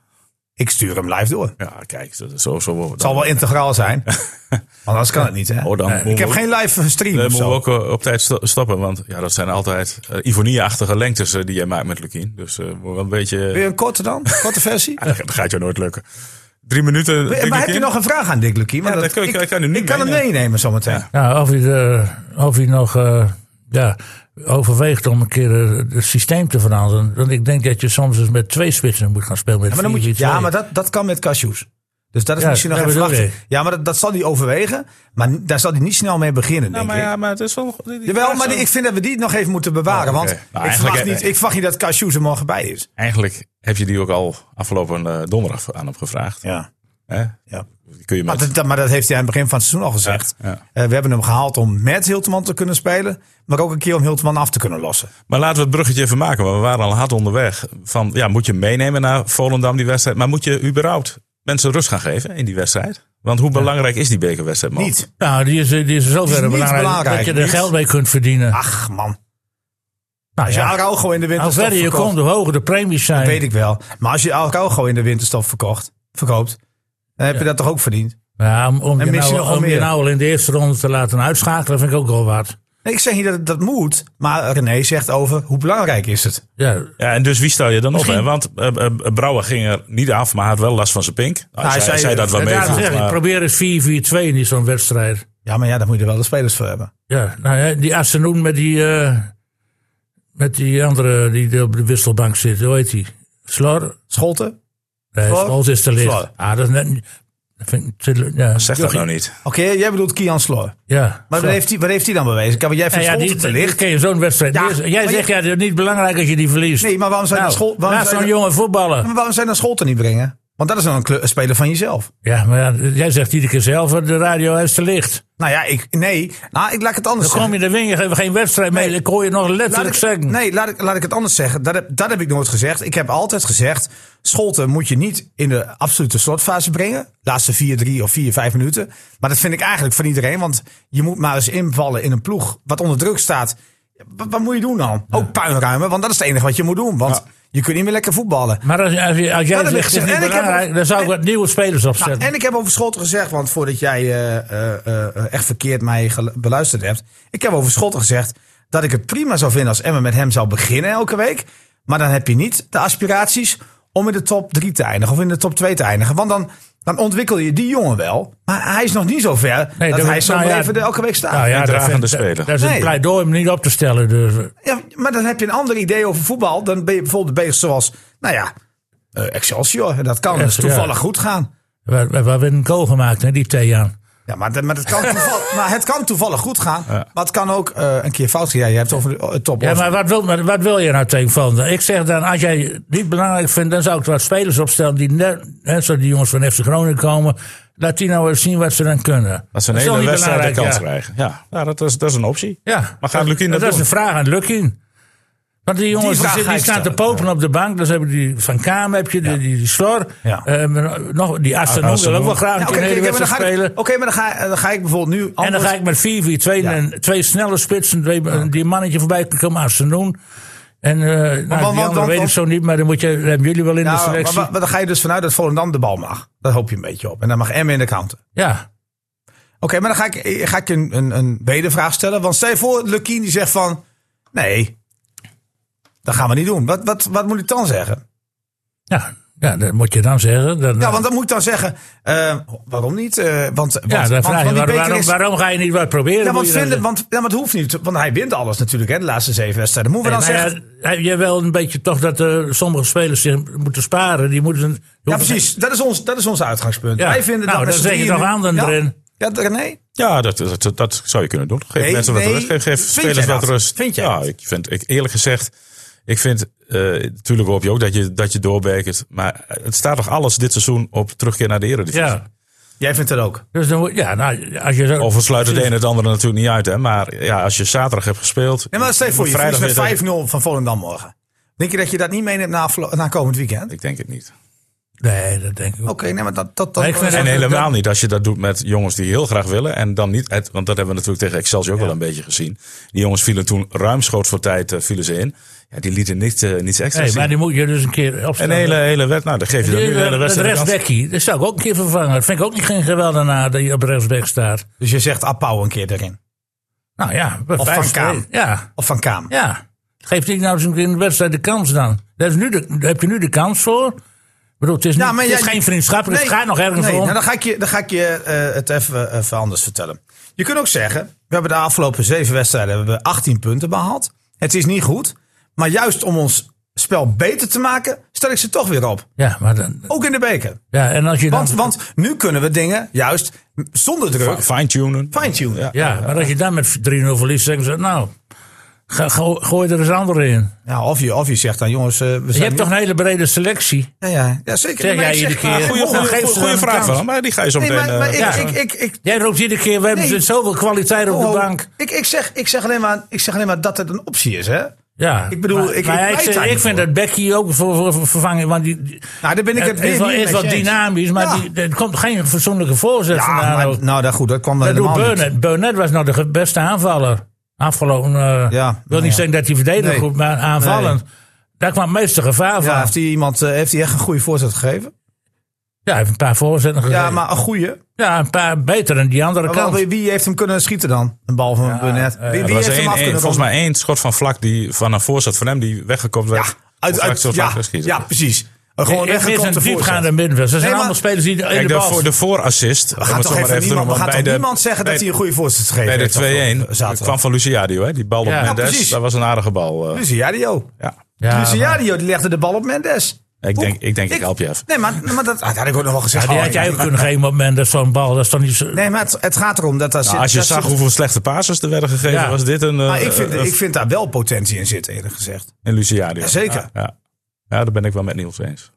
S2: Ik stuur hem live door.
S1: Ja, kijk, dat is zo, zo
S2: Het zal wel integraal zijn. Want anders kan het niet, hè?
S1: Oh, dan moeten
S2: ik heb
S1: we-
S2: geen live stream.
S1: Dan
S2: of
S1: moeten
S2: zo.
S1: we ook eh, op tijd sto- stoppen. Want ja, dat zijn altijd eh, ivonieachtige lengtes eh, die jij maakt met Lukien. Dus eh moet wel een beetje...
S2: Wil je een korte dan? Korte versie?
S1: Ah, dat gaat jou nooit lukken. Drie minuten. Lukien.
S2: maar heb je nog een vraag aan Dick Lucky? Want
S1: Ja, dat kan ik- ik kan hem nu
S2: ik kan hem
S1: meenemen.
S2: meenemen zometeen.
S4: Ja, of, hij de, of hij nog eh, ja, overweegt om een keer eh, het systeem te veranderen. Want ik denk dat je soms eens met twee spitsen moet gaan spelen. Met
S2: Ja, maar, dan moet je,
S4: 4-4-2.
S2: ja, maar dat, dat kan met cashews. Dus dat is
S4: Ja,
S2: misschien nog
S4: dat
S2: even
S4: bedoel
S2: wachten.
S4: ik.
S2: Ja, maar dat, dat zal hij overwegen. Maar n- daar zal hij niet snel mee beginnen,
S1: Ja,
S2: denk
S1: Nou, maar,
S2: ik.
S1: ja, maar het is wel... die- die
S2: Jawel,
S1: vraag
S2: maar
S1: zou-
S2: die- ik vind dat we die nog even moeten bewaren.
S1: Oh, oké.
S2: Want
S1: Nou,
S2: ik,
S1: eigenlijk-
S2: verwacht niet, ik verwacht niet dat cashews er morgen bij is.
S1: Eigenlijk heb je die ook al afgelopen eh, donderdag aan hem gevraagd.
S2: Ja.
S1: Hè?
S2: ja.
S1: Die kun je
S2: Maar,
S1: met...
S2: dat, dat- maar dat heeft hij aan het begin van het seizoen al gezegd.
S1: Ja, ja.
S2: Eh, we hebben hem gehaald om met Hilteman te kunnen spelen. Maar ook een keer om Hilteman af te kunnen lossen.
S1: Maar laten we het bruggetje even maken. Want we waren al hard onderweg. Van, ja, moet je hem meenemen naar Volendam die wedstrijd? Maar moet je überhaupt mensen rust gaan geven in die wedstrijd? Want hoe belangrijk is die bekerwedstrijd? man?
S2: Niet.
S4: Nou, die is, die is
S2: Die Ah,
S4: zover
S2: is niet
S4: belangrijk,
S2: belangrijk,
S4: dat je er
S2: niet.
S4: geld mee kunt verdienen.
S2: Ach man.
S4: nou,
S2: Als je
S4: ja.
S2: Araujo in de
S4: Hoe
S2: winterstop
S4: verder je
S2: verkoopt,
S4: komt, hoe hoger de premies zijn.
S2: weet ik wel. Maar als je Araujo in de winterstop verkocht, verkoopt, dan heb je dat toch ook verdiend?
S4: Ja, om, om,
S2: En
S4: je
S2: misschien
S4: nou,
S2: nog wel
S4: om je
S2: meer.
S4: nou al in de eerste ronde te laten uitschakelen, vind ik ook wel wat.
S2: Nee, ik zeg niet dat het dat moet, maar René zegt over hoe belangrijk is het.
S4: Ja,
S1: Ja, en dus wie stel je dan op?
S4: Misschien-
S1: Hè? Want eh, eh, Brouwer ging er niet af, maar had wel last van zijn pink. Nou,
S2: hij
S1: hij zei,
S2: zei-
S1: zei dat wel
S4: en
S1: mee.
S4: daarom zeg ik,
S1: maar-
S4: probeer eens 4-4-2 in zo'n wedstrijd.
S2: Ja, maar ja, daar moet je er wel de spelers voor hebben.
S4: Ja, nou ja, die Assenoen met die, eh, met die andere die op de wisselbank zit, hoe heet die? Slor?
S2: Scholten? Oké,
S4: Nee,
S2: Slor?
S4: Slor is te licht.
S2: Slor.
S4: Ah, dat is net... Dat vind ik te- ja,
S1: Zeg dat nou niet.
S2: jij bedoelt Kian Sloor.
S4: ja.
S2: Maar wat heeft, hij, wat heeft hij dan bewezen? Kan, want jij
S4: Nou Ja,
S2: vindt
S4: ja,
S2: Scholten
S4: die,
S2: te
S4: die
S2: licht.
S4: ken je zo'n wedstrijd.
S2: Ja,
S4: Die is- jij
S2: maar
S4: zegt,
S2: je-
S4: ja, dat is niet belangrijk als je die verliest.
S2: Nee, maar waarom zou je
S4: Nou,
S2: dan Schol- waarom
S4: laat
S2: zou
S4: zo'n
S2: je-
S4: jongen voetballen.
S2: Maar waarom zijn dan Scholten niet brengen? Want dat is dan een, kle- een speler van jezelf.
S4: Ja, maar ja, jij zegt iedere keer zelf, de radio heeft te licht.
S2: Nou ja, ik, nee. Nou, ik laat ik het anders
S4: Dan kom je de win, je geeft geen wedstrijd mee.
S2: Nee.
S4: Ik hoor je nog
S2: Laat
S4: letterlijk
S2: ik,
S4: zeggen.
S2: nee, laat ik, laat ik het anders zeggen. Dat heb, dat heb ik nooit gezegd. Ik heb altijd gezegd: Scholten moet je niet in de absolute slotfase brengen. Laatste 4, 3 of 4, 5 minuten. Maar dat vind ik eigenlijk van iedereen. Want je moet maar eens invallen in een ploeg wat onder druk staat. Wat, wat moet je doen dan? Ook puinruimen, want dat is het enige wat je moet doen. Want je kunt niet meer lekker voetballen.
S4: Maar als, als, je-
S2: heb
S4: als jij
S2: ik
S4: zegt, het
S2: gezegd.
S4: is niet
S2: En ik heb
S4: belangrijk,
S2: ook-
S4: dan zou ik
S2: en-
S4: wat nieuwe spelers
S2: Nou,
S4: opzetten.
S2: en ik heb over Scholten gezegd, want voordat jij eh, eh, eh, echt verkeerd mij gelu- beluisterd hebt. Ik heb over Scholten gezegd dat ik het prima zou vinden als Emma met hem zou beginnen elke week. Maar dan heb je niet de aspiraties om in de top 3 te eindigen of in de top 2 te eindigen. Want dan, dan ontwikkel je die jongen wel. Maar hij is nog niet zo ver
S4: Nee,
S2: dat,
S4: dat
S2: hij
S4: we-
S2: zo
S4: nou ja,
S2: blijven er elke week staan.
S4: nou ja,
S1: Een
S4: dat
S1: dragende
S4: vind-
S1: speler.
S4: Dat, dat is
S2: Nee.
S4: een pleidooi om niet op te stellen. Dus.
S2: Ja, maar dan heb je een ander idee over voetbal. Dan ben je bijvoorbeeld bezig zoals, nou ja, eh, Excelsior. En dat kan dus
S4: Ja.
S2: toevallig goed gaan.
S4: We, we, we hebben een goal gemaakt, hè, die Thean.
S2: Ja, maar, dat- maar, dat kan toevallig, maar het kan toevallig goed gaan. Maar het kan ook eh, een keer fout gaan. Ja, je hebt het over de eh, top.
S4: Ja, maar wat wil, maar wat wil je nou tegen Van? Ik zeg dan, als jij het niet belangrijk vindt, dan zou ik wat spelers opstellen. Die net, hè, zo die jongens van FC Groningen komen. Laat die nou eens zien wat ze dan kunnen.
S1: Dat ze een
S4: is toch
S1: hele
S4: niet
S1: wedstrijd de kans
S4: belangrijk, ja.
S1: krijgen. Ja, ja dat, is, dat is een optie.
S4: Ja,
S1: Maar gaat Lukien dat
S4: dat is
S1: doen?
S4: een vraag aan Lukien. Want die jongens die,
S2: vraag
S4: zitten-
S2: ga
S4: die
S2: ik
S4: staan te
S2: stellen,
S4: popelen op de bank. Dus hebben die Van Kaam heb je, die, die, die Slor.
S2: Ja.
S4: eh, nog, die Astanon wil
S1: Astanon.
S4: ook wel graag
S2: Ja,
S4: een
S2: Nou, Oké,
S4: keer
S2: oké,
S4: een hele
S2: oké, maar dan
S4: wedstrijd
S2: ga ik-
S4: spelen.
S2: oké, maar dan ga, eh, dan ga ik bijvoorbeeld nu.
S4: En dan
S2: antwoord-
S4: ga ik met 4-4-2 en twee snelle spitsen, twee, die mannetje voorbij kan komen, Astanon. En eh nou, die
S2: want-
S4: andere
S2: want-
S4: weet ik
S2: want-
S4: zo niet, maar dan, moet je, dan hebben jullie wel in
S2: Nou,
S4: de
S2: maar-
S4: selectie.
S2: maar- maar dan ga je dus vanuit dat Volendam de bal mag. Daar hoop je een beetje op. En dan mag Emmen in de counter.
S4: ja.
S2: Oké, maar dan ga ik, eh, ga ik je een, een, een wedervraag stellen. Want stel je voor, Lukien die zegt van... Nee, dat gaan we niet doen. Wat, wat, wat moet ik dan zeggen?
S4: Ja. ja, dat moet je dan zeggen. Dan,
S2: Ja, want dan moet ik dan zeggen... eh, waarom niet? Eh, want, want,
S4: ja, dan
S2: want-
S4: vraag
S2: want
S4: je,
S2: die
S4: waar-
S2: beker
S4: waarom,
S2: is-
S4: waarom ga je niet wat proberen?
S2: Ja,
S4: Moet
S2: want,
S4: je dan
S2: vinden,
S4: zeggen.
S2: want, ja, maar het hoeft niet. Want hij wint alles natuurlijk, hè, de laatste zeven wedstrijden. Moeten we
S4: Nee,
S2: dan
S4: maar
S2: zeggen...
S4: ja, heb je wel een beetje toch dat eh, sommige spelers zich moeten sparen. Die moeten, die
S2: Ja,
S4: hoeven-
S2: precies. Dat is ons, dat is ons uitgangspunt.
S4: Ja.
S2: Wij vinden
S4: Nou,
S2: dat
S4: dan zeg je
S2: nog
S4: toch aan dan
S2: ja.
S4: erin.
S2: ja, René?
S1: Ja, dat, dat, dat, dat zou je kunnen doen. Geef
S2: Nee,
S1: mensen wat
S2: nee.
S1: rust. Geef, geef
S2: Vind
S1: spelers
S2: jij
S1: wat
S2: dat?
S1: rust.
S2: Vind jij
S1: ja,
S2: dat?
S1: ik vind, ik, eerlijk gezegd, ik vind, eh, natuurlijk hoop je ook dat je, dat je doorbekert. Maar het staat toch alles dit seizoen op terugkeer naar de Eredivisie.
S4: Ja,
S2: Jij vindt dat ook.
S4: dus dan, moet- ja nou, als je zo...
S1: Of het sluit het een het andere natuurlijk niet uit. Hè? Maar ja, als je zaterdag hebt gespeeld.
S2: Nee, maar stel je voor, je
S1: vrijdag
S2: verliest
S1: weer
S2: met 5-0 van Volendam morgen. Denk je dat je dat niet meeneemt na, aflo- na komend weekend?
S1: tegen-
S2: Oké,
S1: Ik denk het niet.
S4: Nee, dat denk ik ook.
S2: nee, maar dat... dat, dat
S4: Nee, ik vind
S1: En
S4: dat-
S1: helemaal niet. Als je dat doet met jongens die heel graag willen. En dan niet. het- want dat hebben we natuurlijk tegen Excelsior ook wel een beetje gezien. Die jongens vielen toen ruimschoots voor tijd eh, vielen ze in. Ja, die lieten niks, eh, niets extra
S4: Nee,
S1: zien.
S4: maar die moet je dus een keer
S1: Een
S4: opstellen.
S1: hele, hele wet. Nou, dan geef je
S4: Die-
S1: dan nu een hele
S4: dat
S1: wedstrijd. de kans.
S4: rechtsbekkie, dat zou ik ook een keer vervangen. Dat vind ik ook niet geen geweldenaar dat je op rechtsbek staat.
S2: Dus je zegt Appouw een keer erin.
S4: Nou ja, bij
S2: Of
S4: vijf
S2: Van
S4: twee-
S2: Kaam.
S4: Ja,
S2: Of Van Kamer.
S4: ja. Geef die nou eens een keer in de wedstrijd de kans dan. Daar, is nu de, daar heb je nu de kans voor. Ik bedoel, het is, niet,
S2: Ja, maar
S4: het is
S2: jij-
S4: geen vriendschappelijk. het gaat nog ergens
S2: nee,
S4: om.
S2: nou, dan ga ik je, dan ga ik je eh, het even, eh, even anders vertellen. Je kunt ook zeggen, we hebben de afgelopen zeven wedstrijden hebben we 18 punten behaald. Het is niet goed, maar juist om ons spel beter te maken, stel ik ze toch weer op.
S4: Ja, maar dan,
S2: Ook in de beker.
S4: ja, en als je dan...
S2: Want, want nu kunnen we dingen juist m- zonder druk
S1: Fine-tunen.
S2: fine-tunen.
S1: Ja.
S2: Ja.
S4: Ja, maar als je dan met 3-0 verliest, zeggen ze, nou, ga, go- gooi er eens anderen in.
S2: of, je, of je zegt dan, jongens, eh, we zijn...
S4: Je hebt toch een hele brede selectie?
S2: Ja, ja, ja zeker.
S4: Zeg
S2: Maar
S4: jij
S2: ik zeg-
S4: iedere keer.
S2: maar
S1: Goeie,
S4: Mogen
S1: goeie,
S4: we geven
S1: goeie,
S4: ze dan een
S1: vraag
S4: kans?
S1: van hem, maar die ga je zo
S2: Nee,
S1: meteen...
S2: maar, maar ik,
S1: eh,
S4: ja.
S2: ik, ik, ik,
S4: Jij roept iedere keer, we hebben
S2: Nee.
S4: ze zoveel kwaliteit op
S2: oh,
S4: de bank.
S2: ik, ik, zeg, ik, zeg alleen maar, ik zeg alleen maar dat het een optie is, hè?
S4: Ja,
S2: Ik bedoel,
S4: maar,
S2: ik-
S4: maar
S2: ik pleit
S4: zeg-
S2: daar
S4: ik
S2: niet
S4: vind
S2: voor.
S4: dat Becky ook voor, voor, voor vervangen, want die, die
S2: Nou, daar ben ik het
S4: het
S2: weer
S4: is wel,
S2: niet
S4: is
S2: mee
S4: wel
S2: eens.
S4: dynamisch, maar
S2: Ja.
S4: die, er komt geen fatsoenlijke voorzet
S2: Ja,
S4: vandaan.
S2: maar-
S4: ook.
S2: nou, dat goed, dat kwam dan
S4: dat doet
S2: helemaal niet.
S4: Burnett. Burnett was nou de ge- beste aanvaller. Afgelopen, eh
S2: Ja,
S4: wil niet
S2: nou ja.
S4: zeggen dat hij verdedigend
S2: Nee.
S4: goed, maar aanvallend. Daar kwam het meeste gevaar van.
S2: Ja, heeft hij iemand, eh, heeft hij echt een goede voorzet gegeven?
S4: hij heeft een paar voorzetten gegeven.
S2: Ja, maar een goeie.
S4: Ja, een paar beter dan die andere
S2: Maar wel,
S4: kant.
S2: wie- wie heeft hem kunnen schieten dan? Een bal van Burnett. Wie, wie
S1: Er was
S2: heeft hem
S1: één-
S2: af
S1: één-
S2: kunnen
S1: volgens
S2: ronden?
S1: mij één schot van vlak die vanaf voor zat van hem, die weggekomen werd.
S2: Ja, uit,
S1: Of
S2: uit,
S1: vlak
S2: ja,
S1: zou schieten.
S2: ja, precies. Een gewoon
S4: Ik mis
S2: weggekomen
S4: een
S2: te
S4: diepgaande middenveld. Ze zijn
S2: maar-
S4: allemaal spelers die de,
S1: Kijk,
S4: de
S1: de,
S4: bal...
S1: voor, de voorassist.
S2: We gaan toch even niemand, we gaan toch niemand zeggen dat hij een goede voorzet geeft.
S1: Bij de 2-1 kwam van Luciadio, hè? die bal op
S4: Ja. Ja,
S1: Mendes.
S2: precies.
S1: dat was een aardige bal. eh,
S2: Luciadio.
S1: ja.
S4: Ja, maar-
S2: Luciadio die legde de bal op Mendes.
S1: Ik
S2: Oeh,
S1: denk- ik denk, ik help je even.
S2: Nee, maar, maar dat, ah, dat had ik ook nog wel gezegd.
S4: Ja, die
S2: Oh,
S4: had jij
S2: ja.
S4: ook kunnen geven op het moment dat zo'n bal... Dat is toch niet zo...
S2: Nee, maar het, het gaat erom dat daar
S1: Nou,
S2: zit-
S1: als je
S2: dat
S1: zag
S2: zit-
S1: hoeveel slechte passes er werden gegeven,
S4: Ja.
S1: was dit een. eh,
S2: Maar ik vind,
S1: eh,
S2: ik vind daar wel potentie in zitten, eerlijk gezegd.
S1: een Luciadio.
S2: Zeker.
S1: Ja. ja, daar ben ik wel met Niels eens.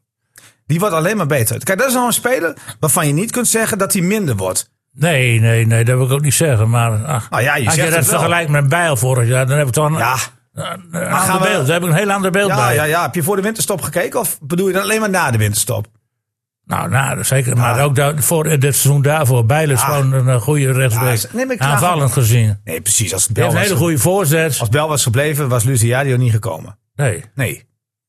S2: Die wordt alleen maar beter. Kijk, dat is nou een speler waarvan je niet kunt zeggen dat hij minder wordt.
S4: Nee, nee, nee, dat wil ik ook niet zeggen. Maar ach,
S2: Nou ja, je
S4: als je
S2: zegt
S4: dat
S2: het wel.
S4: vergelijkt met Bijl vorig jaar, dan heb ik toch een, Nou,
S2: Ja,
S4: een
S2: gaan
S4: ander
S2: we-
S4: beeld. Daar heb ik een heel ander beeld
S2: ja,
S4: bij.
S2: ja, ja. Heb je voor de winterstop gekeken of bedoel je dan alleen maar na de winterstop?
S4: Nou, nou, zeker. Maar
S2: Ja.
S4: ook daar, voor, eh, dit seizoen daarvoor. Bijl is gewoon een eh, goede
S2: Ja,
S4: rechtsback.
S2: nee, maar ik vraag
S4: aanvallend gezien. Hij
S2: Nee, precies. Als Bel,
S4: heeft een
S2: was,
S4: hele goede voorzet.
S2: als Bel was gebleven, was Luciadio niet gekomen.
S4: Nee,
S2: Nee.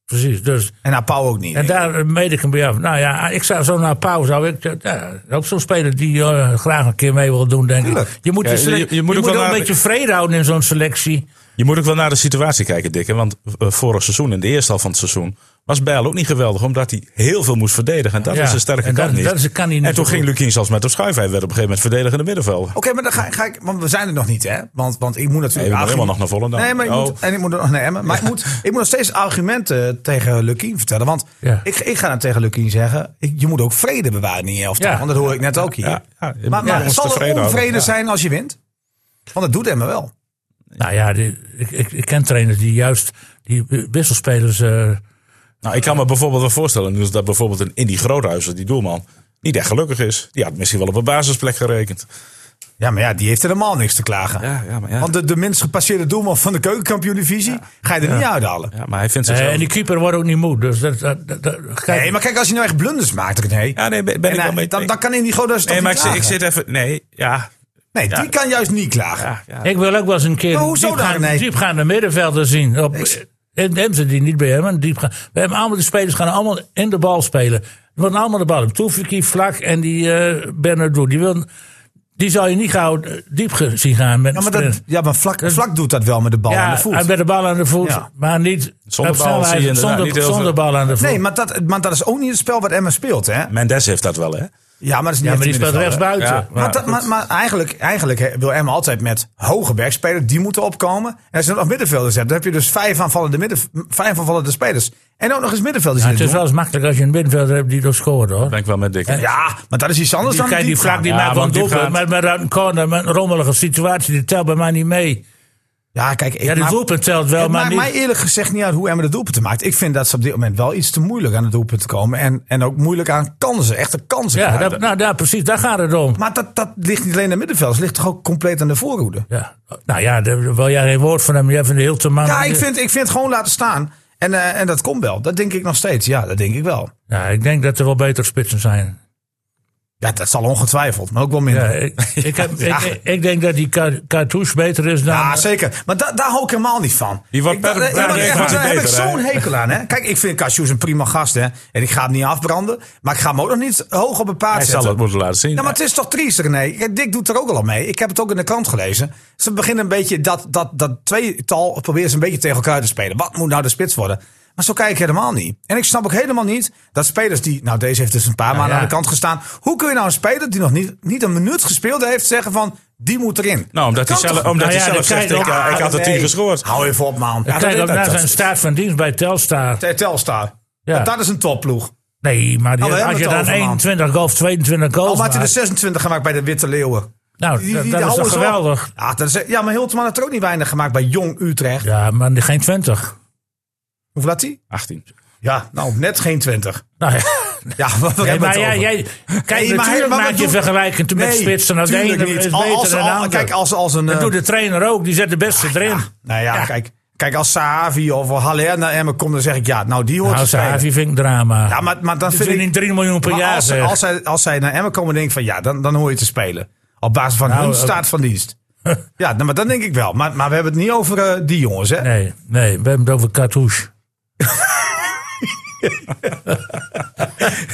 S4: precies. Dus,
S2: En Apau ook niet.
S4: en
S2: nee.
S4: daar meed ik hem bij af. Nou ja, ik zou zo naar Pauw zou ik... eh, Ja, ook zo'n speler die eh, graag een keer mee wil doen, denk
S2: Tuurlijk.
S4: ik. Je moet,
S1: Ja,
S4: de selec-
S1: je- je moet
S4: je
S1: ook wel
S4: moet ook
S1: naar-
S4: een beetje vrede houden in zo'n selectie.
S1: Je moet ook wel naar de situatie kijken, Dikke. Want eh, vorig seizoen, in de eerste helft van het seizoen, was Bijl ook niet geweldig. Omdat hij heel veel moest verdedigen. En dat
S4: Ja,
S1: is een sterke
S4: en dat-
S1: kant niet.
S4: dat is- kan hij niet
S1: en toen
S4: zo
S1: ging
S4: goed.
S1: Lukien zelfs met op schuif. Hij werd op een gegeven moment verdedigende middenveld.
S2: Oké, maar dan ga, ga ik, want we zijn er nog niet, hè? Want, want ik moet
S1: Nee, we
S2: natuurlijk.
S1: moeten helemaal nog
S2: argumenten-
S1: naar Volendam.
S2: Nee, maar ik
S1: Oh.
S2: moet, en ik moet er nog naar Emmen. Maar ik, moet, ik moet nog steeds argumenten tegen Lukien vertellen. Want
S4: Ja.
S2: ik, ik ga dan tegen Lukien zeggen: ik- je moet ook vrede bewaren in je elftal.
S4: Ja.
S2: Want dat hoor ik net ook hier.
S1: Ja, ja, je
S2: maar
S1: moet
S2: maar
S1: ons
S2: zal
S1: tevreden
S2: er
S1: houden.
S2: onvrede
S1: Ja.
S2: zijn als je wint? Want dat doet Emmen wel.
S4: Nou ja, die- ik, ik, ik ken trainers die juist die wisselspelers. eh,
S1: Nou, ik kan me bijvoorbeeld wel voorstellen Niels, dat bijvoorbeeld een Indy Groothuizen, die doelman, niet echt gelukkig is. Die had misschien wel op een basisplek gerekend.
S2: Ja, maar ja, die heeft helemaal niks te klagen.
S1: Ja, ja, maar ja.
S2: Want de, de minst gepasseerde doelman van de keukenkampioen-divisie ga je er niet uithalen.
S1: Ja, maar hij vindt
S4: eh,
S1: zichzelf...
S4: en die keeper wordt ook niet moe. Dus dat, dat, dat- dat- kijk,
S2: Nee, maar kijk, als je nou echt blunders maakt, dan- nee.
S1: Ja, nee, ben, ben
S2: En
S1: ik
S2: hij-
S1: wel mee.
S2: dan, dan kan in die goden
S1: nee, maar ik, zit- ik zit even... Nee, ja.
S2: Nee, die kan juist niet klagen.
S1: ja, ja.
S4: ik wil ook wel eens een keer
S2: Maar
S4: een
S2: hoezo
S4: diepgaande,
S2: dan? Nee.
S4: diepgaande middenvelder zien. Op,
S2: Ik-
S4: in Emsen die niet bij hem. een diepga- We hebben allemaal de spelers gaan allemaal in de bal spelen. Er worden allemaal de bal. Toefiki, Vlak en die eh Bernardo. Die, wil, die zal je niet gauw eh, diep ge- zien gaan met
S2: Ja,
S4: een
S2: maar, dat,
S4: sprint.
S2: ja, maar vlak, vlak doet dat wel met de bal aan
S4: Ja,
S2: de voet.
S4: en met de bal aan de voet.
S2: Ja.
S4: Maar niet
S1: Zonder
S4: op
S1: bal zie je
S4: snelheid,
S1: inderdaad
S4: zonder,
S1: niet heel veel.
S4: zonder bal aan de voet.
S2: Nee, maar dat, maar dat is ook niet het spel wat Emma speelt, hè?
S1: Mendes heeft dat wel, hè?
S2: Ja, maar dat is niet
S4: ja, maar
S2: echt
S4: die
S2: een
S4: speelt rechts
S2: middenvelder.
S4: buiten.
S1: Ja.
S2: Maar, dat, maar, maar eigenlijk, eigenlijk hè, wil Emma altijd met hoge backspelers, die moeten opkomen. En als je dan nog middenvelders hebt, dan heb je dus vijf aanvallende, midden, vijf aanvallende spelers. En ook nog eens middenvelders.
S4: Ja,
S2: die dit
S4: het is wel
S2: doen.
S4: eens makkelijk als je een middenvelder hebt die dat scoort hoor.
S1: Ben ik wel met Dick. Ja,
S2: Ja, maar dat is iets anders
S4: Die,
S2: dan
S4: kijk, die vlak die
S1: Ja,
S4: maakt wel een
S1: want die
S4: doelpunt.
S1: gaat-
S4: Maar, maar uit een corner, met een rommelige situatie, die telt bij mij niet mee.
S2: Ja, kijk, ik
S4: Ja, die
S2: maak-
S4: doelpunt telt wel,
S2: Het
S4: maar
S2: maakt
S4: niet...
S2: mij eerlijk gezegd niet uit hoe Emmen de doelpunten maakt. Ik vind dat ze op dit moment wel iets te moeilijk aan de doelpunten komen. En, en ook moeilijk aan kansen, echte kansen.
S4: ja,
S2: krijgen.
S4: daar, nou daar precies, daar gaat het om.
S2: Maar dat, dat ligt niet alleen aan de middenveld. Het ligt toch ook compleet aan de voorhoede.
S4: Ja. Nou ja, daar wil jij geen woord van hem. Jij vindt heel te man.
S2: Ja, ik vind, ik vind het gewoon laten staan. En, eh, en dat komt wel. Dat denk ik nog steeds. Ja, dat denk ik wel.
S4: Ja, ik denk dat er wel betere spitsen zijn.
S2: Ja, dat zal ongetwijfeld. Maar ook wel minder.
S4: Ja,
S2: Ja,
S4: ik, ik, heb,
S2: Ja.
S4: ik, ik denk dat die Ka- Cartouche beter is dan...
S2: zeker. Maar da- daar hou ik helemaal niet van.
S1: Die wordt
S2: ik, da-
S1: per-
S2: ja, maar
S1: per-
S2: echt, maar daar heb ik
S1: beter, hè?
S2: zo'n hekel aan. Hè? Kijk, ik vind Cashews een prima gast. Hè? En ik ga hem niet afbranden. Maar ik ga hem ook nog niet hoog op een paard
S1: hij
S2: zetten.
S1: zal het moeten laten zien.
S2: Ja, Nou, maar het is toch triest, René? Kijk, Dick doet er ook al aan mee. Ik heb het ook in de krant gelezen. Ze beginnen een beetje dat, dat, dat tweetal proberen ze een beetje tegen elkaar te spelen. Wat moet nou de spits worden? Maar zo kijk ik helemaal niet. En ik snap ook helemaal niet dat spelers die... Nou, deze heeft dus een paar maanden
S4: ja.
S2: aan de kant gestaan. Hoe kun je nou een speler die nog niet, niet een minuut gespeeld heeft zeggen van... Die moet erin.
S1: Nou, omdat hij
S2: Dat kan
S1: zelf,
S2: toch- Ah,
S1: omdat
S4: Nou
S1: hij
S4: ja,
S1: zelf
S4: dan
S1: zegt,
S4: kijk
S1: ik,
S4: je-
S1: eh, ik had er tien
S2: nee.
S1: gescoord.
S2: Hou even op, man. Ja,
S4: Kijk ook naar zijn
S2: dat,
S4: staat van dienst bij Telstar.
S2: Telstar.
S4: Ja.
S2: Dat, dat is een topploeg.
S4: Nee, maar die-
S2: Oh, we hebben
S4: als je
S2: het
S4: dan
S2: over, man. Oh,
S4: 21 golf, 22
S2: Al
S4: golf
S2: had hij de 26 gemaakt bij de Witte Leeuwen.
S4: Nou,
S2: Die- die-
S4: dat-
S2: die
S4: dat is
S2: houden
S4: toch
S2: ze op.
S4: geweldig.
S2: Ja, dat is, ja, maar Hilteman had er ook niet weinig gemaakt bij Jong Utrecht.
S4: Ja, maar geen 20.
S2: Hoeveel had hij?
S1: 18.
S2: Ja, nou, net geen 20.
S4: Nou ja.
S2: Ja, wat
S4: Nee,
S2: hebben we
S4: maar
S2: het
S4: jij,
S2: over?
S4: jij, kijk,
S2: Nee, maar hij- maar
S4: natuurlijk maak
S2: wat
S4: je
S2: doet-
S4: vergelijking met
S2: Nee,
S4: spitsen. Als de
S2: tuurlijk
S4: ene is
S2: niet.
S4: beter
S2: Al- als-
S4: dan de
S2: al-
S4: ander.
S2: Kijk, als, als een...
S4: dat
S2: eh,
S4: doet de trainer ook. Die zet de beste erin.
S2: nou ja, kijk. Kijk, als Sahavi of Haller naar Emmen komt, dan zeg ik ja, nou die hoort
S4: nou,
S2: te spelen.
S4: Sahavi vind ik drama.
S2: Ja, maar, maar dan
S4: dat
S2: vind
S4: vind
S2: ik...
S4: ik 3 miljoen per
S2: maar
S4: jaar.
S2: als,
S4: zeg.
S2: als, zij, als zij naar Emmen komen, denk ik van ja, dan, dan hoor je te spelen. Op basis van
S4: Nou,
S2: hun
S4: eh,
S2: staat van dienst. ja, nou, maar dat denk ik wel. Maar, maar we hebben het niet over eh, die jongens, hè?
S4: Nee, nee, we hebben het over Cartouche.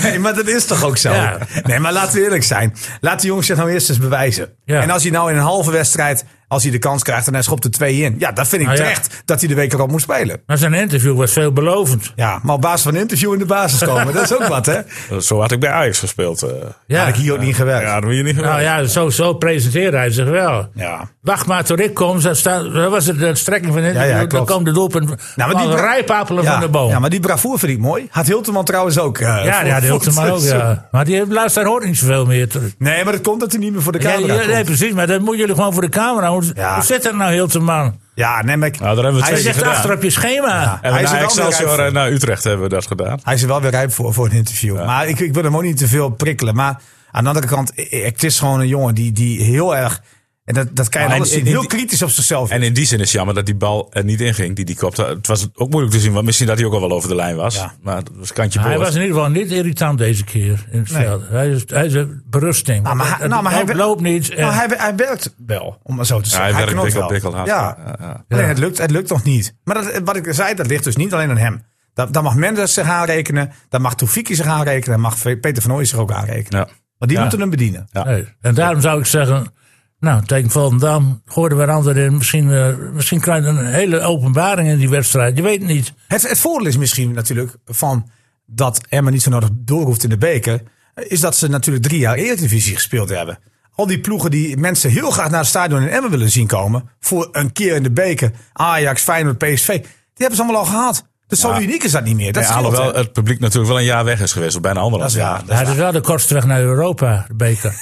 S2: Nee, maar dat is toch ook zo?
S4: Ja.
S2: Nee, maar laten we eerlijk zijn. Laat die jongens zich nou eerst eens bewijzen.
S4: Ja.
S2: En als hij nou in een halve wedstrijd, als hij de kans krijgt en hij schopt er twee in. Ja, dat vind ik
S4: Nou ja.
S2: terecht dat hij de week erop moet spelen.
S4: Maar zijn interview was veelbelovend.
S2: Ja, maar op basis van een interview in de basis komen. dat is ook wat, hè?
S1: Zo had ik bij Ajax gespeeld. eh.
S4: Ja.
S2: Had ik hier ook niet gewerkt.
S1: Ja, dat moet je niet
S4: Nou ja, zo, zo presenteerde hij zich wel.
S2: Ja.
S4: Wacht maar tot ik kom. Zo sta- Dat was het- de strekking van het
S2: Ja, ja,
S4: interview. dan
S2: klopt.
S4: kwam de doelpunt
S2: Nou, maar
S4: van
S2: die-
S4: rijpapelen
S2: ja,
S4: van de boom.
S2: ja,
S4: Ja,
S2: maar die bravoer vind ik mooi. Had Hilteman trouwens ook. eh,
S4: ja,
S2: voor-
S4: die had
S2: voor
S4: Hilton
S2: het
S4: maar ook.
S2: seizoen.
S4: Ja. Maar die luisteraar hoort niet zoveel meer terug.
S2: Nee, maar dat komt dat hij niet meer voor de
S4: Ja,
S2: camera
S4: ja,
S2: komt.
S4: nee, precies, maar dat moeten jullie gewoon voor de camera houden.
S2: Ja.
S4: Hoe zit dat nou, Hilterman?
S2: Ja, nee, maar ik-
S1: Nou, daar hebben we
S2: hij,
S1: twee
S4: Hij
S2: is
S1: keer
S2: echt-
S4: zegt
S1: gedaan.
S4: achter op je schema.
S1: En
S2: Hij is
S1: naar
S2: er wel weer
S1: Excelsior
S2: uit.
S1: en naar Utrecht hebben we dat gedaan.
S2: hij is er wel weer rijp voor, voor een interview. Maar ik, ik wil hem ook niet te veel prikkelen. Maar aan de andere kant, eh, het is gewoon een jongen die, die heel erg... En dat, dat kan je
S1: Maar
S2: alles
S1: en-
S2: zien.
S1: en-
S2: Heel kritisch op zichzelf.
S1: En in die zin is het jammer dat die bal er niet in ging, die die kopte. Het was ook moeilijk te zien, want misschien dat hij ook al wel over de lijn was.
S2: Ja.
S1: Maar het was kantje
S4: Hij
S1: boord.
S4: was in ieder geval niet irritant deze keer in het veld. Hij is, hij is een berusting.
S2: Ah, maar hij-
S4: Het
S2: nou, maar hij
S4: loopt-
S2: wer-
S4: loopt niet.
S2: nou,
S4: en-
S2: hij, hij werkt wel, om maar zo te
S1: eh. Ja,
S2: zeggen.
S1: hij werkt
S2: knopt
S1: bikkel,
S2: wel.
S1: bikkel hard.
S2: Ja.
S1: Ja, ja.
S2: Alleen
S4: Ja.
S2: het lukt, het lukt nog niet. Maar dat, wat ik zei, dat ligt dus niet alleen aan hem. Dat, daar mag Mendes zich aanrekenen. Daar mag Toefiki zich aanrekenen. Daar mag Peter van Ooyen zich ook aanrekenen.
S1: Ja.
S2: Want die
S1: Ja.
S2: moeten hem bedienen.
S1: Ja.
S4: Nee. En daarom zou ik zeggen, nou, tegen Volendam, gooi er weer anderen in. Misschien, eh, misschien krijg je een hele openbaring in die wedstrijd. Je weet het niet.
S2: Het, het voordeel is misschien natuurlijk van dat Emma niet zo nodig door hoeft in de beker. Is dat ze natuurlijk drie jaar Eredivisie gespeeld hebben. Al die ploegen die mensen heel graag naar het stadion in Emmen willen zien komen. Voor een keer in de beker. Ajax, Feyenoord, PSV. Die hebben ze allemaal al gehad. Dus zo
S1: Ja.
S2: uniek is dat niet meer. Dat
S1: Nee,
S2: scheelt,
S1: alhoewel eh,
S2: hè?
S1: het publiek natuurlijk wel een jaar weg is geweest, of bijna
S2: Dat
S1: anderhalf
S2: is
S1: jaar.
S2: waar.
S4: Hij is wel de kortste weg naar Europa, de beker.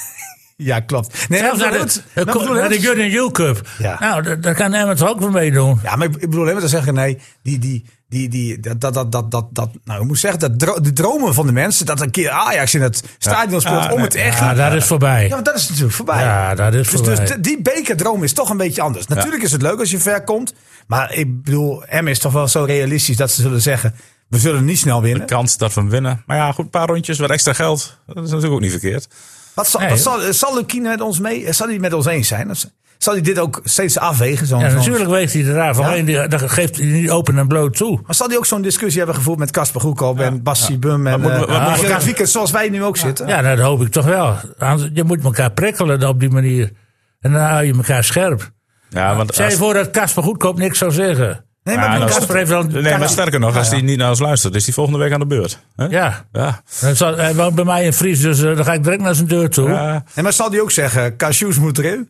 S2: Ja, klopt. Nee,
S4: Zelfs
S2: maar
S4: naar
S2: ik bedoel het-
S4: de, de,
S2: maar ik
S4: ko-
S2: bedoel
S4: naar de
S2: het-
S4: Good New Cup.
S2: Ja.
S4: Nou, daar- daar kan Emmet ook weer meedoen.
S2: Ja, maar ik ik bedoel helemaal te zeggen, nee, die, die, die, die, dat, dat, dat, dat, dat, dat- nou, ik moet zeggen, dat dro- de dromen van de mensen, dat een keer Ajax in het stadion speelt
S1: Ja,
S2: om
S1: nee.
S2: het echt.
S4: Ja, dat is voorbij.
S2: Ja, maar dat is natuurlijk voorbij.
S4: Ja, dat is
S2: dus,
S4: voorbij.
S2: dus de- die bekerdroom is toch een beetje anders. Natuurlijk is het leuk als je ver komt. Maar ik bedoel, M is toch wel zo realistisch dat ze zullen zeggen... we zullen niet snel
S1: De
S2: winnen.
S1: kans dat we hem winnen. Maar ja, goed, een paar rondjes, wat extra geld. Dat is natuurlijk ook niet verkeerd.
S2: Wat zal,
S4: Nee.
S2: wat zal, eh, zal Lukien met ons mee? eh, Zal hij met ons eens zijn? Of Zal hij dit ook steeds afwegen? Zo'n,
S4: Ja,
S2: zo'n-
S4: natuurlijk weet hij het eraf. Alleen, die, dat geeft hij niet open en bloot toe.
S2: Maar zal hij ook zo'n discussie hebben gevoerd met Casper Groekhoop en Basti Bum en
S1: moeten we-
S2: eh,
S1: wat moeten
S4: we-
S2: Gerard Wiekers, zoals wij nu ook zitten?
S4: Ja, nou, dat hoop ik toch wel. Anders- Je moet elkaar prikkelen op die manier. En dan hou je elkaar scherp.
S1: Ja, want
S4: Stel je
S1: als-
S4: voor dat Casper Goedkoop niks zou zeggen.
S2: Nee,
S1: Ja,
S2: maar,
S1: nou,
S2: Casper-
S4: Casper heeft dan...
S1: Nee, maar sterker nog, als
S2: Ja, ja.
S1: hij niet naar ons luistert, is hij volgende week aan de beurt. Hè?
S4: Ja,
S1: Ja.
S4: dan zal- hij woont bij mij in Fries, dus eh, dan ga ik direct naar zijn deur toe.
S1: Ja.
S2: nee, maar zal hij ook zeggen, Cashews moet erin?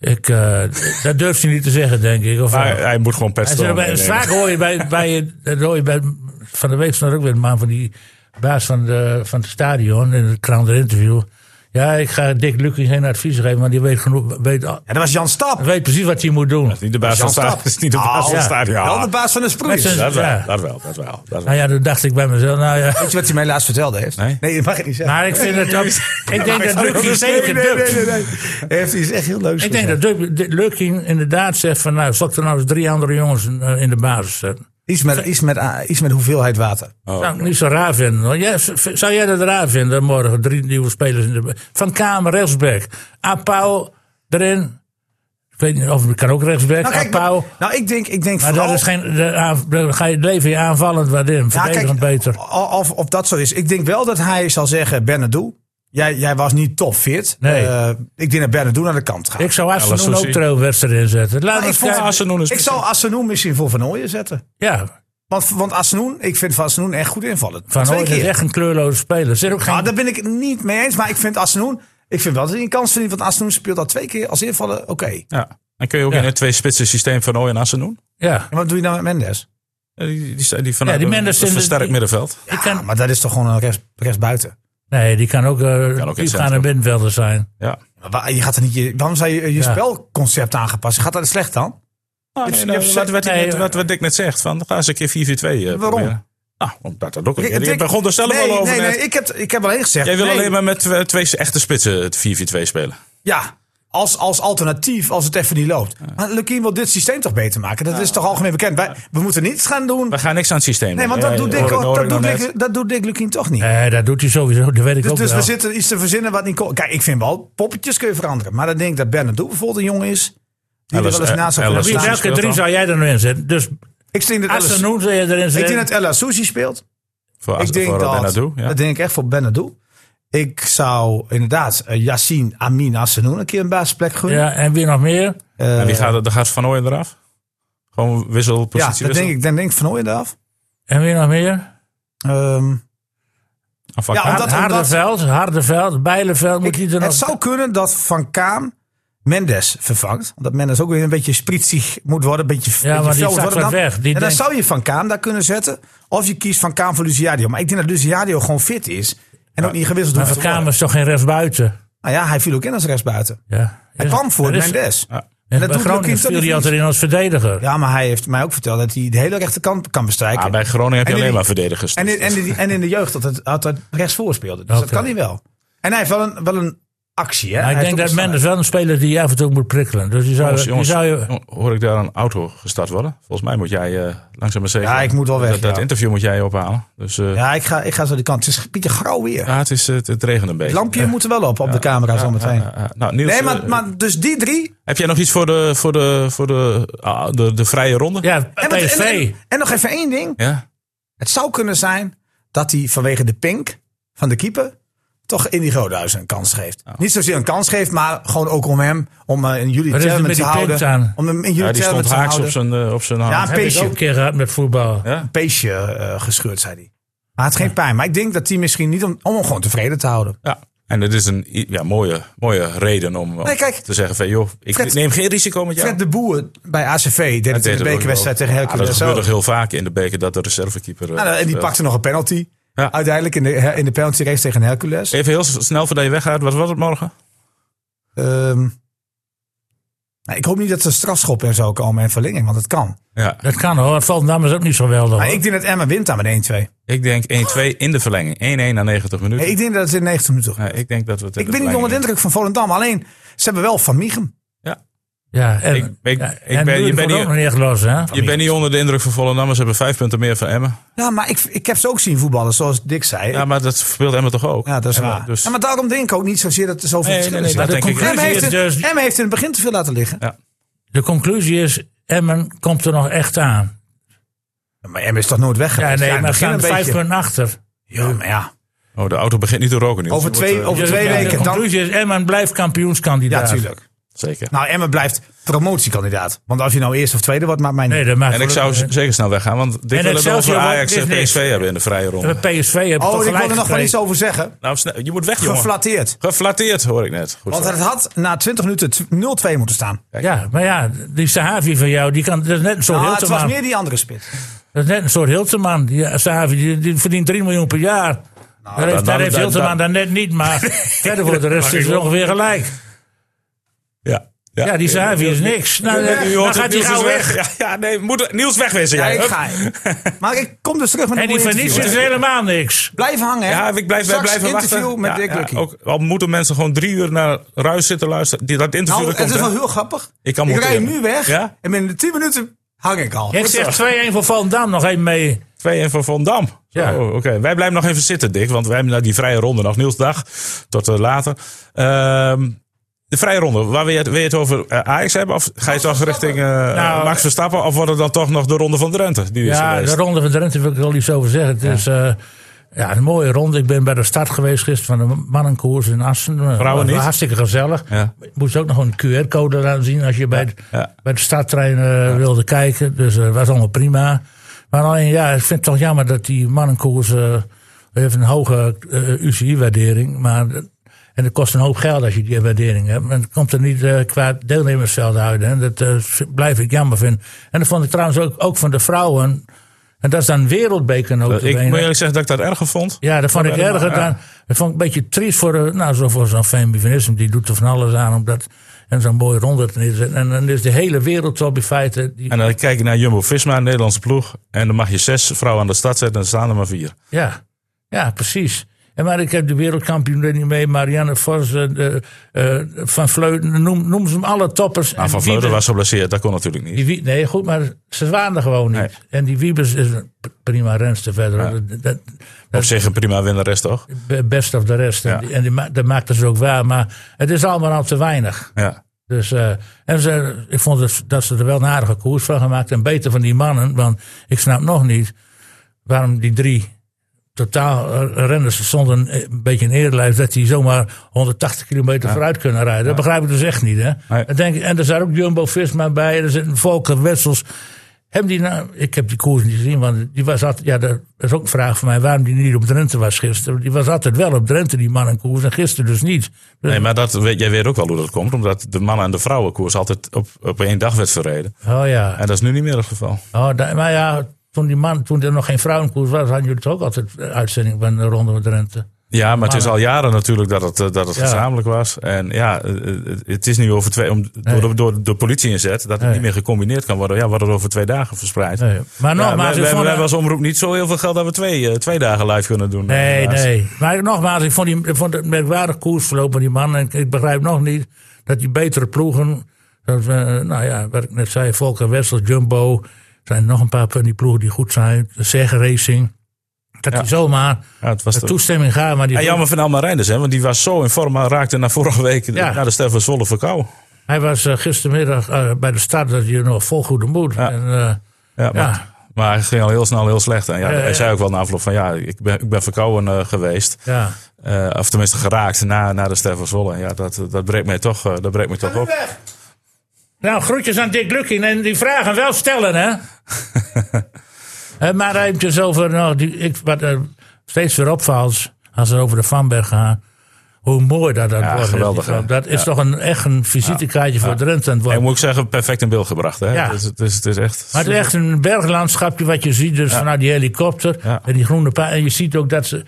S4: Ik, eh, dat durft hij niet te zeggen, denk ik. Of, wel?
S1: Maar hij moet gewoon
S4: Hij
S1: pet
S4: zei, bij, vaak hoor je bij, bij, dat hoor je bij van de week stond er ook weer een man van die baas van, de, van het stadion in het krant interview. Ja, ik ga Dick Lucky geen advies geven, maar die weet, genoeg, weet, al-
S2: Ja, dat was Jan Stap.
S4: weet precies wat hij moet doen.
S1: Niet de baas van
S2: Jan
S1: het stadion.
S2: Stap.
S1: is niet de
S2: Nou,
S1: baas van het stadion. Ja,
S2: Wel de baas van de
S4: Met
S2: sproeis.
S4: zijn-
S1: Dat wel,
S4: Ja.
S1: dat wel, dat wel. dat wel.
S4: Nou ja, toen dacht ik bij mezelf, nou ja.
S2: Weet je wat hij mij laatst vertelde heeft?
S1: Nee.
S2: dat mag ik niet zeggen.
S4: Maar ik vind het ook, ik denk dat Lucky zeker
S2: nee, nee,
S4: dubt.
S2: nee, nee. Hij heeft iets echt heel leuks
S4: Ik denk dat Duk- Duk- Lukking inderdaad zegt van nou, zal ik er nou eens drie andere jongens in, eh, in de basis zetten?
S2: Iets met, iets, met, ah, iets met hoeveelheid water.
S4: Zou ik niet zo raar vinden. hoor. Jij- v- zou jij dat raar vinden morgen? Drie nieuwe spelers in de. ba- Van Kamer, rechtsback. Apau erin. Ik weet niet of het kan ook rechtsback.
S2: Nou, kijk,
S4: Apau.
S2: maar, nou ik denk, ik denk
S4: Maar
S2: vooral...
S4: dat is geen, de aan- dan ga je leven je aanvallend wat in.
S2: Ja, kijk,
S4: Verdedigend beter.
S2: Of, of, of dat zo is. Ik denk wel dat hij zal zeggen, Bernardo, jij, jij was niet top fit.
S4: Nee.
S2: Eh, ik denk dat Bernardo naar de kant gaat.
S4: Ik zou Asfenoen
S1: Lassouci.
S4: ook trouwens erin zetten.
S2: Maar
S4: Laat
S2: Nou, ik
S4: eens
S2: vond-
S4: kijken.
S1: Asenoen is
S2: ik zou Assenoen misschien voor Van Ooyen zetten.
S4: Ja,
S2: Want, want Assenoen, ik vind Van Assenoen echt goed invallen.
S4: Van
S2: Twee
S4: Ooyen is
S2: keer.
S4: echt een kleurloze speler. Zit ook geen,
S2: Ah, daar ben ik het niet mee eens. Maar ik vind Assenoen, ik vind wel dat hij een kans verdient. Want Assenoen speelt al twee keer als invallen, oké.
S1: Ja. En kun je ook
S4: Ja.
S1: in het twee spitsen systeem van Ooy en Assen doen?
S4: ja.
S2: En wat doe je nou met Mendes?
S1: Eh, Die, die, die vanuit
S4: Ja, die
S1: een-
S4: Mendes
S1: een
S4: in de-
S1: versterkt
S4: die-
S1: middenveld.
S4: Die
S2: Ja,
S4: kan,
S2: Ah, maar dat is toch gewoon een rest, rest buiten.
S4: nee, die kan ook, eh
S1: Kan ook in
S4: die
S1: het
S4: gaan een
S1: centrum.
S4: middenvelder zijn.
S1: Ja.
S2: Maar waar- je gaat er niet je, waarom zou je je
S4: Ja.
S2: spelconcept aangepast? Gaat dat slecht dan?
S1: Nou,
S2: Dit-
S1: nee,
S2: dit-
S1: wat, wat, hij
S4: nee,
S1: net- wat, wat Dick net zegt, van, ga eens een keer 4-4-2 eh,
S2: Waarom?
S1: proberen. Nou, omdat dat ook een keer.
S2: Ik-
S1: Je
S2: ik-
S1: begon er zelf
S2: nee,
S1: al over
S2: nee,
S1: net.
S2: nee, ik heb, ik heb alleen gezegd.
S1: Jij wil
S2: nee.
S1: alleen maar met twee, twee echte spitsen het 4-4-2 spelen.
S2: Ja, als, als alternatief als het even niet loopt. Maar Lukien wil dit systeem toch beter maken? Dat is toch algemeen bekend? Wij, we moeten niets gaan doen.
S1: We gaan niks aan het systeem
S2: Nee,
S1: doen.
S2: want
S1: Ja,
S2: dat
S1: ja,
S2: doet Dick
S1: hoor ik-
S2: ook-
S1: hoor
S2: dat
S1: ik nog
S2: doet
S1: net.
S2: Dick- dat doet Dick Lukien toch niet.
S4: Nee, dat doet hij sowieso. Dat weet ik
S2: Dus,
S4: ook
S2: dus
S4: wel.
S2: we zitten iets te verzinnen wat niet kon. Kijk, ik vind wel, poppetjes kun je veranderen. Maar dan denk ik dat Bernardo bijvoorbeeld een jongen is. Die er
S1: Ellis-
S2: wel eens naast
S1: Ellis-
S2: zou kunnen
S4: Wie,
S2: staan.
S1: Ellis-
S4: welke
S1: speelt
S4: drie
S1: dan?
S4: zou jij er nou inzetten? Dus
S2: Ik denk dat El
S4: Als ze
S2: Ass-
S4: noemt, zou je erin
S2: ik
S4: zitten.
S2: denk dat El Assouzi speelt.
S1: Voor, As-
S2: ik denk
S1: voor
S2: dat,
S1: Benadou, ja.
S2: dat denk ik echt voor Benadou. Ik zou inderdaad eh, Yassine Amin Assenoen een keer een basisplek gunnen.
S4: Ja, en wie nog meer?
S2: Eh,
S1: En wie gaat, er- dan gaat Van Ooyen eraf? Gewoon
S2: ja,
S1: wisselpositie
S2: dat denk ik, dan denk ik van ooit af.
S4: En wie nog meer?
S2: Ehm,
S1: Ah,
S2: Ja, omdat-
S4: Hardeveld, Hardeveld, Bijleveld. Moet die er nog...
S2: het zou kunnen dat Van Kaam Mendes vervangt. Omdat Mendes ook weer een beetje spritzig moet worden. Een beetje, beetje
S4: maar die
S2: vrolijk
S4: zakt
S2: worden.
S4: wat
S2: Dan-
S4: weg. Die
S2: en dan
S4: denkt-
S2: zou je Van Kaam daar kunnen zetten. Of je kiest Van Kaam voor Luciadio. Maar ik denk dat Luciadio gewoon fit is. En ook niet gewisseld
S4: Maar
S2: hoeft
S4: Van
S2: te worden.
S4: Kamer is toch geen rechtsbuiten?
S2: Nou ja, hij viel ook in als rechtsbuiten.
S4: Ja.
S2: Hij kwam voor
S4: Dat is-
S2: Mendes.
S4: En
S2: dat
S4: bij
S2: doet
S4: Groningen
S2: Lukien toch
S4: viel hij
S2: niet
S4: altijd in als verdediger.
S2: Ja, maar hij heeft mij ook verteld dat hij de hele rechterkant kan bestrijken.
S1: Ah, bij Groningen heb je
S2: En die-
S1: alleen maar verdedigers.
S2: En in, en, in, en in de jeugd dat het altijd rechts voor speelde. Dus dat
S4: Oké.
S2: kan hij wel. En hij heeft wel een, wel een actie. Hè?
S4: Maar
S2: Hij
S4: ik
S2: heeft
S4: denk
S2: ook een
S4: dat Mendes wel een speler die je af en toe moet prikkelen. Dus die zou,
S1: Jongens,
S4: die
S1: jongens,
S4: zou je...
S1: hoor ik daar een auto gestart worden? Volgens mij moet jij eh, langzaam maar zeker...
S2: Ja, ik moet wel weg,
S1: Dat, dat
S2: ja.
S1: interview moet jij ophalen. Dus eh,
S2: snelheid.
S1: ja.
S2: Ja, ik ga, ik ga zo die kant. Het is Pieter Grauw weer.
S1: het, is, eh, het, het regent een beetje.
S2: Het lampje moet er wel op, op de camera zo zometeen.
S1: Eh, eh, nou, Niels,
S2: Nee,
S1: eh,
S2: maar, maar dus die drie.
S1: heb jij nog iets voor de, voor de, voor de, ah, de, de vrije ronde?
S4: Ja,
S2: En, wat- en-
S4: PSV.
S2: en, en nog even één ding.
S1: Ja?
S2: Het zou kunnen zijn dat hij vanwege de pink van de keeper toch Indigo Duis een kans geeft.
S1: Oh.
S2: Niet zozeer een kans geeft, maar gewoon ook om hem, om eh, in jullie
S4: Wat is er
S2: termen
S4: met
S2: te
S4: die pink
S2: houden.
S4: aan?
S2: Om hem in
S1: Ja,
S2: jullie
S1: die
S2: termen
S1: stond
S2: te
S1: haaks op
S2: houden.
S1: zijn, eh, op zijn hand.
S2: Ja, een
S4: Heb ik ook
S2: peesje.
S4: een keer gehad met voetbal.
S1: Ja.
S2: een peesje eh, gescheurd, zei hij. Maar het geen pijn. Maar ik denk dat hij misschien niet om, om hem gewoon tevreden te houden.
S1: Ja. En dat is een i- ja, mooie, mooie reden om om
S2: Nee, kijk.
S1: te zeggen van... joh, ik
S2: Fred-
S1: neem geen risico met jou.
S2: Fred de Boer bij ACV deed het in
S1: deed
S2: de
S1: het ook
S2: bekerwedstrijd
S1: wel.
S2: tegen
S1: Ja, dat
S2: Hercules.
S1: gebeurt
S2: ook.
S1: toch heel vaak in de beker dat de reservekeeper... eh,
S2: Nou, en die
S1: speelt.
S2: pakte nog een penalty.
S1: Ja.
S2: Uiteindelijk in de, in de penalty race tegen Hercules.
S1: Even heel s- snel voordat je weggaat. Wat was het morgen?
S2: Ehm, nou, ik hoop niet dat er strafschoppen en zo komen en verlenging, want het kan.
S1: Ja,
S4: Dat kan hoor. Het valt namens ook niet zo wel hoor.
S2: Maar ik denk dat Emma wint daar met 1-2.
S1: ik denk 1-2 in de verlenging. 1-1 na 90 minuten.
S2: Nee, ik denk dat het in 90 minuten
S1: Ja, ik denk dat we het in
S2: Ik ben niet onder de
S1: verlenging-
S2: indruk van Volendam. Alleen, ze hebben wel Van Michem.
S4: ja, en,
S1: ik- ik-
S4: ja,
S1: ik
S4: en
S1: ben- je
S4: Buren
S1: bent
S4: wordt
S1: hier-
S4: ook nog neergelost, hè?
S1: Je bent niet onder de indruk van Volendam. Ze hebben vijf punten meer van Emmen.
S2: Ja, maar ik, ik heb ze ook zien voetballen, zoals Dick zei.
S1: Ja, maar dat speelt Emmen toch ook?
S2: Ja, dat is
S1: Emmen,
S2: waar.
S1: Dus,
S2: Ja, maar daarom denk ik ook niet zozeer dat er zoveel
S1: Nee,
S2: verschillen
S1: nee, nee,
S2: zijn.
S1: dat
S4: de
S1: denk ik.
S4: conclusie
S2: Emma heeft,
S4: is
S2: in,
S4: dus-
S2: Emma heeft in het begin te veel laten liggen.
S4: De conclusie is, Emmen komt er nog echt aan.
S2: Maar Emma is toch nooit weg
S4: Ja,
S2: geweest?
S4: nee,
S2: in het
S4: maar we
S2: begin
S4: gaan
S2: een
S4: vijf
S2: beetje.
S4: punten achter.
S2: Ja, maar ja.
S1: oh, de auto begint niet te roken nu.
S2: Over twee, over
S4: Dus
S2: twee
S4: ja,
S2: weken
S4: De
S2: dan...
S4: conclusie is, Emmen blijft
S2: Ja,
S4: kampioenskandidaat.
S2: natuurlijk.
S1: Zeker.
S2: Nou, Emma blijft promotiekandidaat. Want als je nou eerst of tweede wordt, maakt mij niet.
S4: Nee, dat maakt
S1: En ik
S4: voor-
S1: zou z- zeker snel weggaan. Want dit
S4: En
S1: wil het over
S4: Excelsior wordt-
S1: Ajax en
S4: dit is niks.
S1: PSV hebben in de vrije
S4: Eh,
S1: ronde.
S4: PSV heeft toch
S2: oh, ik
S4: gelijk
S2: wil er nog wel
S4: gekregen.
S2: iets over zeggen.
S1: Nou, snel, je moet weg, jongen.
S2: Geflatteerd.
S1: Geflatteerd, hoor ik net. Goed
S2: Want
S1: zo.
S2: het had na 20 minuten t- 0-2 moeten staan.
S4: Ja, maar ja, die Sahavi van jou, die kan, dat is net een soort
S2: Nou, het was
S4: Hilteman.
S2: meer die andere spits.
S4: Dat is net een soort Hilteman. Die eh, Sahavi, die, die verdient 3 miljoen per jaar. daar heeft,
S1: dan-
S4: daar heeft
S1: dan-
S4: Hilteman
S1: dan-
S4: dan net niet, maar verder voor de rest is het ongeveer gelijk.
S1: Ja.
S4: Ja, die Sahavi is niks. Nou,
S1: Nee,
S4: dan,
S1: u hoort het,
S4: gaat hij
S1: Niels
S4: gauw
S1: is
S4: weg.
S1: Ja, ja, nee, moet, Niels wegwezen.
S2: Ja,
S1: jij.
S2: ik
S1: Hup.
S2: ga. Maar ik kom dus terug met een
S4: En die
S2: mooi
S4: Van Nietzsche
S2: interview,
S4: is
S2: hè.
S4: helemaal niks.
S2: Blijf hangen, hè.
S1: Ja, ik blijf, wij
S2: Straks
S1: blijven
S2: interview
S1: wachten.
S2: met Nou,
S1: Ja,
S2: Dick
S1: ja,
S2: Lucky.
S1: ook, al moeten mensen gewoon drie uur naar ruis zitten luisteren. Die, dat interview
S2: Nou,
S1: dat
S2: het
S1: komt,
S2: is wel
S1: hè?
S2: heel grappig.
S1: Ik kan
S2: ik rij
S1: monteren.
S2: nu weg
S1: Ja?
S2: en binnen 10 minuten hang ik al.
S4: Ik zeg 2-1 voor Volendam nog even mee.
S1: 2-1 voor Van Dam.
S4: Ja.
S1: Zo, Oké, wij blijven nog even zitten, Dick. Want wij hebben nou die vrije ronde nog. Niels, dag. Tot eh, later. Ehm, de vrije ronde. Waar wil je het, wil je het over eh, Ajax hebben? Of ga je toch richting eh,
S4: Nou,
S1: Max Verstappen? Of wordt het dan toch nog de ronde van Drenthe? Die is
S4: Ja,
S1: geweest?
S4: de ronde van Drenthe wil ik er al iets over zeggen. Het is eh, ja, een mooie ronde. Ik ben bij de start geweest gisteren van de mannenkoers in Assen.
S1: Vrouwen
S4: Was
S1: niet?
S4: Hartstikke gezellig.
S1: Ja.
S4: Je moest ook nog een QR-code laten zien als je bij, het-
S1: ja.
S4: bij de starttrein eh, wilde kijken. Dus dat was allemaal prima. Maar alleen, ja, ik vind het toch jammer dat die mannenkoers eh, heeft een hoge eh, UCI-waardering. Maar, en dat kost een hoop geld als je die waardering hebt. En het komt er niet eh, qua deelnemersveld uit. Hè. Dat eh, blijf ik jammer vinden. En dat vond ik trouwens ook, ook van de vrouwen. En dat is dan wereldbeker
S1: Eh, ik moet
S4: notabene.
S1: eerlijk zeggen dat ik dat erger vond.
S4: Ja, dat vond ik
S1: Maar bij de
S4: erger
S1: mannen,
S4: dan. Dat vond ik een beetje triest voor, de- nou, zo voor zo'n feminisme. Die doet er van alles aan om dat. En zo'n mooie ronde te neerzetten. En dan is de hele wereld op in feite. Die,
S1: En dan kijk je naar Jumbo-Visma, een Nederlandse ploeg. En dan mag je zes vrouwen aan de stad zetten. En dan staan er maar vier.
S4: ja. ja, precies. En maar ik heb de wereldkampioen er niet mee. Marianne Vos, eh, de, eh, Van Vleuten, noem, noem ze hem alle toppers.
S1: Maar Nou,
S4: En
S1: Van Vleuten
S4: Wiebes-
S1: was geblesseerd. Dat kon natuurlijk niet.
S4: Die, Wie- nee, goed, maar ze waren er gewoon niet.
S1: Nee.
S4: En die Wiebes is een p- prima renster verder.
S1: Ja.
S4: Dat, dat,
S1: Op zich een prima winnares toch?
S4: best of de rest.
S1: Ja.
S4: En, die, en die ma- dat maakt het dus ook waar. Maar het is allemaal al te weinig.
S1: Ja.
S4: Dus, eh, en ze, ik vond dat, dat ze er wel een aardige koers van gemaakt. En beter van die mannen. Want ik snap nog niet waarom die drie totaal eh, renners stonden een beetje in eerlijf. Dat die zomaar 180 kilometer vooruit kunnen rijden. Dat begrijp ik dus echt niet. Hè?
S1: Nee.
S4: En, denk, ik- en er zat ook Jumbo-Visma bij. Er zitten Volker Wessels. Hebben die nou, ik heb die koers niet gezien, want die was altijd, ja, dat is ook een vraag van mij, waarom die niet op Drenthe was gisteren. Die was altijd wel op Drenthe, die man en koers, en gisteren dus niet. Dus-
S1: Nee, maar dat, weet, jij weet ook wel hoe dat komt. Omdat de mannen- en de vrouwenkoers altijd op, op één dag werd verreden.
S4: oh ja.
S1: En dat is nu niet meer het geval.
S4: Oh, da- maar ja, toen, die man, toen er nog geen vrouwenkoers was, hadden jullie het ook altijd eh, uitzending van de Ronde van Drenthe.
S1: Ja, maar het is al
S4: Mannen.
S1: jaren natuurlijk dat het, eh, dat het
S4: Ja.
S1: gezamenlijk was. En ja, eh, eh, het is nu over twee, om, door, de, door de politie inzet, dat het
S4: Nee.
S1: niet meer gecombineerd kan worden. Ja, wordt het over twee dagen verspreid.
S4: Nee. Nou, Maar
S1: Ja, wij,
S4: nogmaals,
S1: wij,
S4: ik vond...
S1: wij als omroep niet zo heel veel geld dat we twee, eh, twee dagen live kunnen doen. eh,
S4: nee,
S1: helaas.
S4: nee. Maar nogmaals, ik vond, die, ik vond het een merkwaardig koersverloop van die man. En ik, ik begrijp nog niet dat die betere ploegen, zoals, eh, nou ja, wat ik net zei, Volker Wessels, Jumbo, zijn nog een paar van die ploegen die goed zijn, Zeg Racing, dat die zomaar
S1: Ja, het was
S4: de
S1: de-
S4: toestemming gaan. Maar die
S1: Ja, jammer van Alma Reinders, hè, want die was zo in vorm, maar raakte na vorige week
S4: Ja.
S1: na de Stefan Zwolle verkou.
S4: Hij was eh, gistermiddag eh, bij de start dat hij nog vol goede moed.
S1: Ja.
S4: En, eh,
S1: Ja, maar,
S4: Ja.
S1: maar hij ging al heel snel heel slecht. En ja,
S4: Ja, ja,
S1: hij
S4: ja.
S1: zei ook wel na afloop van ja, ik ben, ik ben verkouden eh, geweest.
S4: ja.
S1: Eh, of tenminste geraakt na, na de Stefan Zwolle. Ja, dat, dat breekt mij toch, eh, dat breekt mij toch op.
S4: Nou, groetjes aan Dick Lukking. En die vragen wel stellen, hè? Eh, maar eventjes over... Nou, die, ik, wat er steeds weer opvalt als we over de Vanberg gaan... Hoe mooi dat dat
S1: Ja,
S4: wordt.
S1: geweldig, hè?
S4: dat is toch een, echt een visitekaartje voor Drenthe aan het
S1: En
S4: worden.
S1: moet ik zeggen, perfect in beeld gebracht. Hè?
S4: Ja.
S1: Dus, het is- het is echt.
S4: Maar het is echt een berglandschapje wat je ziet dus vanuit die helikopter.
S1: Ja.
S4: En die groene pa- En je ziet ook dat ze...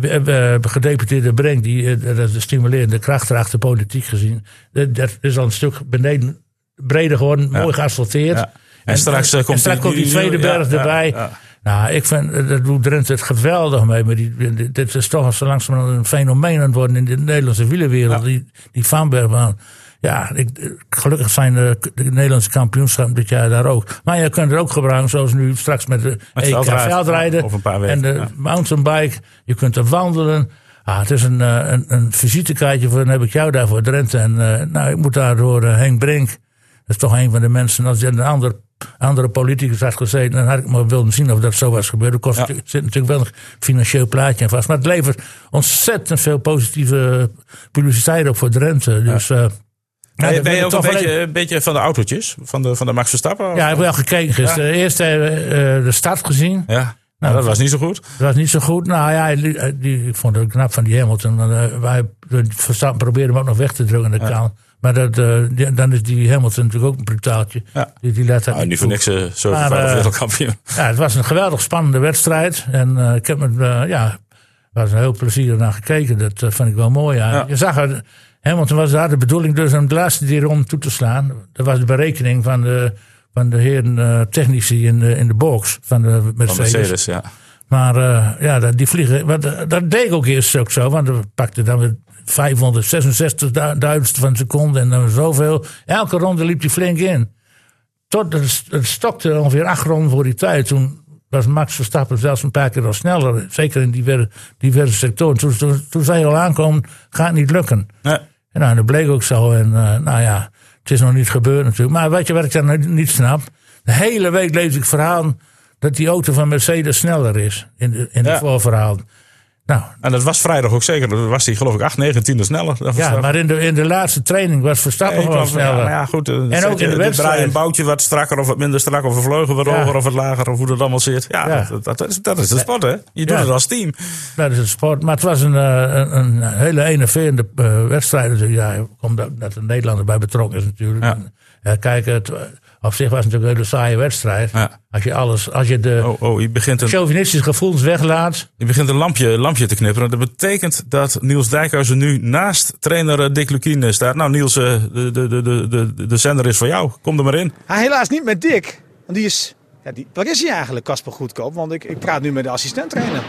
S4: We hebben gedeputeerde Brenk, die, eh, dat is de stimulerende kracht erachter politiek gezien. eh, Dat is al een stuk beneden breder geworden, mooi geasfalteerd.
S1: Ja. En straks, eh,
S4: en
S1: komt
S4: straks
S1: die-
S4: komt die
S1: die-
S4: tweede
S1: ja,
S4: berg
S1: ja,
S4: erbij.
S1: ja.
S4: Nou, ik vind, eh, dat doet Drenthe het geweldig mee. Maar die, dit- dit is toch zo langzamerhand een fenomeen aan het worden in de Nederlandse wielerwereld. Die, die Vanbergbaan. Ja, ik, eh, gelukkig zijn de, de Nederlandse kampioenschappen dit jaar daar ook. Maar je kunt er ook gebruiken, zoals nu straks met de
S1: Met
S4: EK
S1: veldrijden.
S4: veldrijden.
S1: Ja, over een paar weken,
S4: En de
S1: ja.
S4: mountainbike. Je kunt er wandelen. Ah, het is een, eh, een, een visitekaartje voor, dan heb ik jou daar voor Drenthe. En eh, nou, ik moet daar door eh, Henk Brink. Dat is toch een van de mensen. Als je een ander, andere politicus had gezeten, dan had ik maar willen zien of dat zo was gebeurd. Er kost,
S1: Ja.
S4: natuurlijk- zit natuurlijk wel een financieel plaatje aan vast. Maar het levert ontzettend veel positieve publiciteit op voor Drenthe. Dus, eh, ja.
S1: Ben je-
S4: dat wil
S1: ben je
S4: ik
S1: ook een
S4: toch wel
S1: beetje,
S4: even-
S1: een beetje van de autootjes? Van de, van de Max Verstappen?
S4: Ja, ik heb wel gekeken gisteren. Eerst eh, eh, de start gezien.
S1: Ja. Nou, dat was niet zo goed.
S4: Dat was niet zo goed. Nou ja, die, eh, die- ik vond het knap van die Hamilton. Want, eh, wij de Verstappen probeerden hem ook nog weg te drukken. Dat kan. Maar dat, eh, die- dan is die Hamilton natuurlijk ook een brutaaltje.
S1: Ja.
S4: Die, die laat dat
S1: Nou,
S4: niet
S1: niet voor
S4: toe.
S1: niks eh
S4: Maar, eh,
S1: zevenvoudig wereldkampioen.
S4: Ja, het was een geweldig spannende wedstrijd. En eh, ik heb me, eh, ja, was een heel plezier naar gekeken. Dat eh, vond ik wel mooi. Ja.
S1: Ja.
S4: Je zag het, Hamilton was daar de bedoeling dus om de laatste die rond toe te slaan. Dat was de berekening van de, van de heren eh, technici in de, in de box van de
S1: Van
S4: Mercedes.
S1: Mercedes, ja.
S4: Maar eh, ja, dat- die vliegen, want, eh, dat deed ik ook eerst ook zo. Want we pakten dan weer 566.000 van een seconde en dan zoveel. Elke ronde liep hij flink in. Tot het, het stokte ongeveer acht ronden voor die tijd. Toen was Max Verstappen zelfs een paar keer al sneller. Zeker in diverse, diverse sectoren. Toen, toen, toen zei hij al aankomen, gaat niet lukken.
S1: Nee.
S4: En nou, dat bleek ook zo. En eh, nou ja, het is nog niet gebeurd natuurlijk. Maar weet je wat ik dan niet- niet snap? De hele week lees ik verhalen dat die auto van Mercedes sneller is. In, de, in
S1: Ja.
S4: het voorverhaal. Nou,
S1: En dat was vrijdag ook zeker. Dat was hij geloof ik 8, 9, 10 sneller. dan
S4: ja,
S1: Verstappen.
S4: maar in de, in de laatste training was Verstappen
S1: Ja, ik
S4: gewoon
S1: geloof- ja,
S4: sneller.
S1: maar ja, goed. eh, En
S4: ook in de wedstrijd.
S1: Draai een boutje wat strakker of wat minder strak. Of een vleugel wat
S4: Ja.
S1: hoger of wat lager. Of hoe dat allemaal zit. Ja,
S4: Ja.
S1: Dat, dat, is, dat is de sport hè. Je doet
S4: Ja.
S1: het als team.
S4: Dat is het sport. Maar het was een, eh, een, een hele enerverende eh, wedstrijd. natuurlijk. ja, omdat dat de Nederlander bij betrokken is natuurlijk.
S1: Ja.
S4: En, eh, kijk, het, eh, op zich was het natuurlijk een hele saaie wedstrijd.
S1: Ja.
S4: Als je alles, als je de
S1: Oh, oh je, begint een,
S4: chauvinistische gevoelens weglaat.
S1: je begint een lampje, lampje te knipperen. Dat betekent dat Niels Dijkhuizen nu naast trainer eh, Dick Lukien eh, staat. Nou Niels, eh, de, de, de, de, de, de zender is voor jou. Kom er maar in.
S5: Ah, helaas niet met Dick. Want die is. Ja, die, waar is hij eigenlijk, Casper Goedkoop? Want ik, ik praat nu met de assistent trainer.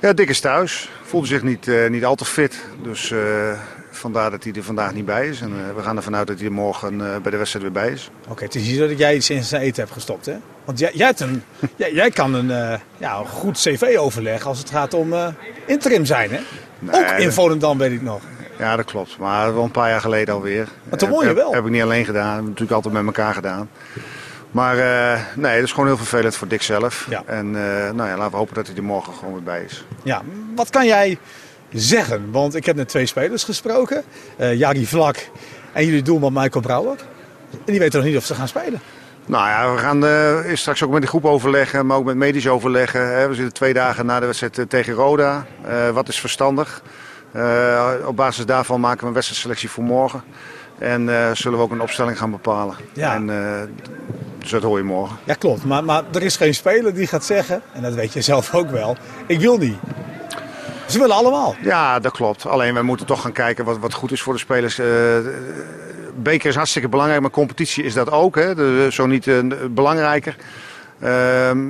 S6: Ja, Dick is thuis. Voelde zich niet, eh, niet al te fit. Dus eh, vandaar dat hij er vandaag niet bij is. En eh, we gaan ervan uit dat hij er morgen eh, bij de wedstrijd weer bij is.
S5: Oké, het is hier dat jij iets in zijn eten hebt gestopt, hè? Want jij, jij, hebt een, jij, jij kan een eh, ja, een goed cv overleggen als het gaat om eh, interim zijn, hè? Ook in
S6: dat-
S5: Volendam, weet ik nog.
S6: Ja, dat klopt. Maar wel een paar jaar geleden alweer.
S2: Maar toen
S6: Heb-
S2: won je
S6: heb-
S2: wel.
S6: Heb ik niet alleen gedaan. Heb ik natuurlijk altijd met elkaar gedaan. Maar eh, nee, dat is gewoon heel vervelend voor Dick zelf.
S2: Ja.
S6: En eh, nou ja, laten we hopen dat hij er morgen gewoon weer bij is.
S2: Ja, wat kan jij zeggen? Want ik heb net twee spelers gesproken. eh Jari Vlak en jullie doelman Michael Brouwer. En die weten nog niet of ze gaan spelen.
S6: Nou ja, we gaan eh, straks ook met de groep overleggen, maar ook met medisch overleggen. Hè. We zitten twee dagen na de wedstrijd eh, tegen Roda. Eh, wat is verstandig? Eh, op basis daarvan maken we een wedstrijdselectie voor morgen. En eh, zullen we ook een opstelling gaan bepalen.
S2: Ja.
S6: En, eh, dus dat hoor je morgen.
S2: Ja, klopt. Maar, maar er is geen speler die gaat zeggen, en dat weet je zelf ook wel, ik wil niet. Ze willen allemaal.
S6: Ja, dat klopt. Alleen wij moeten toch gaan kijken wat, wat goed is voor de spelers. Eh, beker is hartstikke belangrijk, maar competitie is dat ook. Hè? De- zo niet eh, belangrijker. Ehm,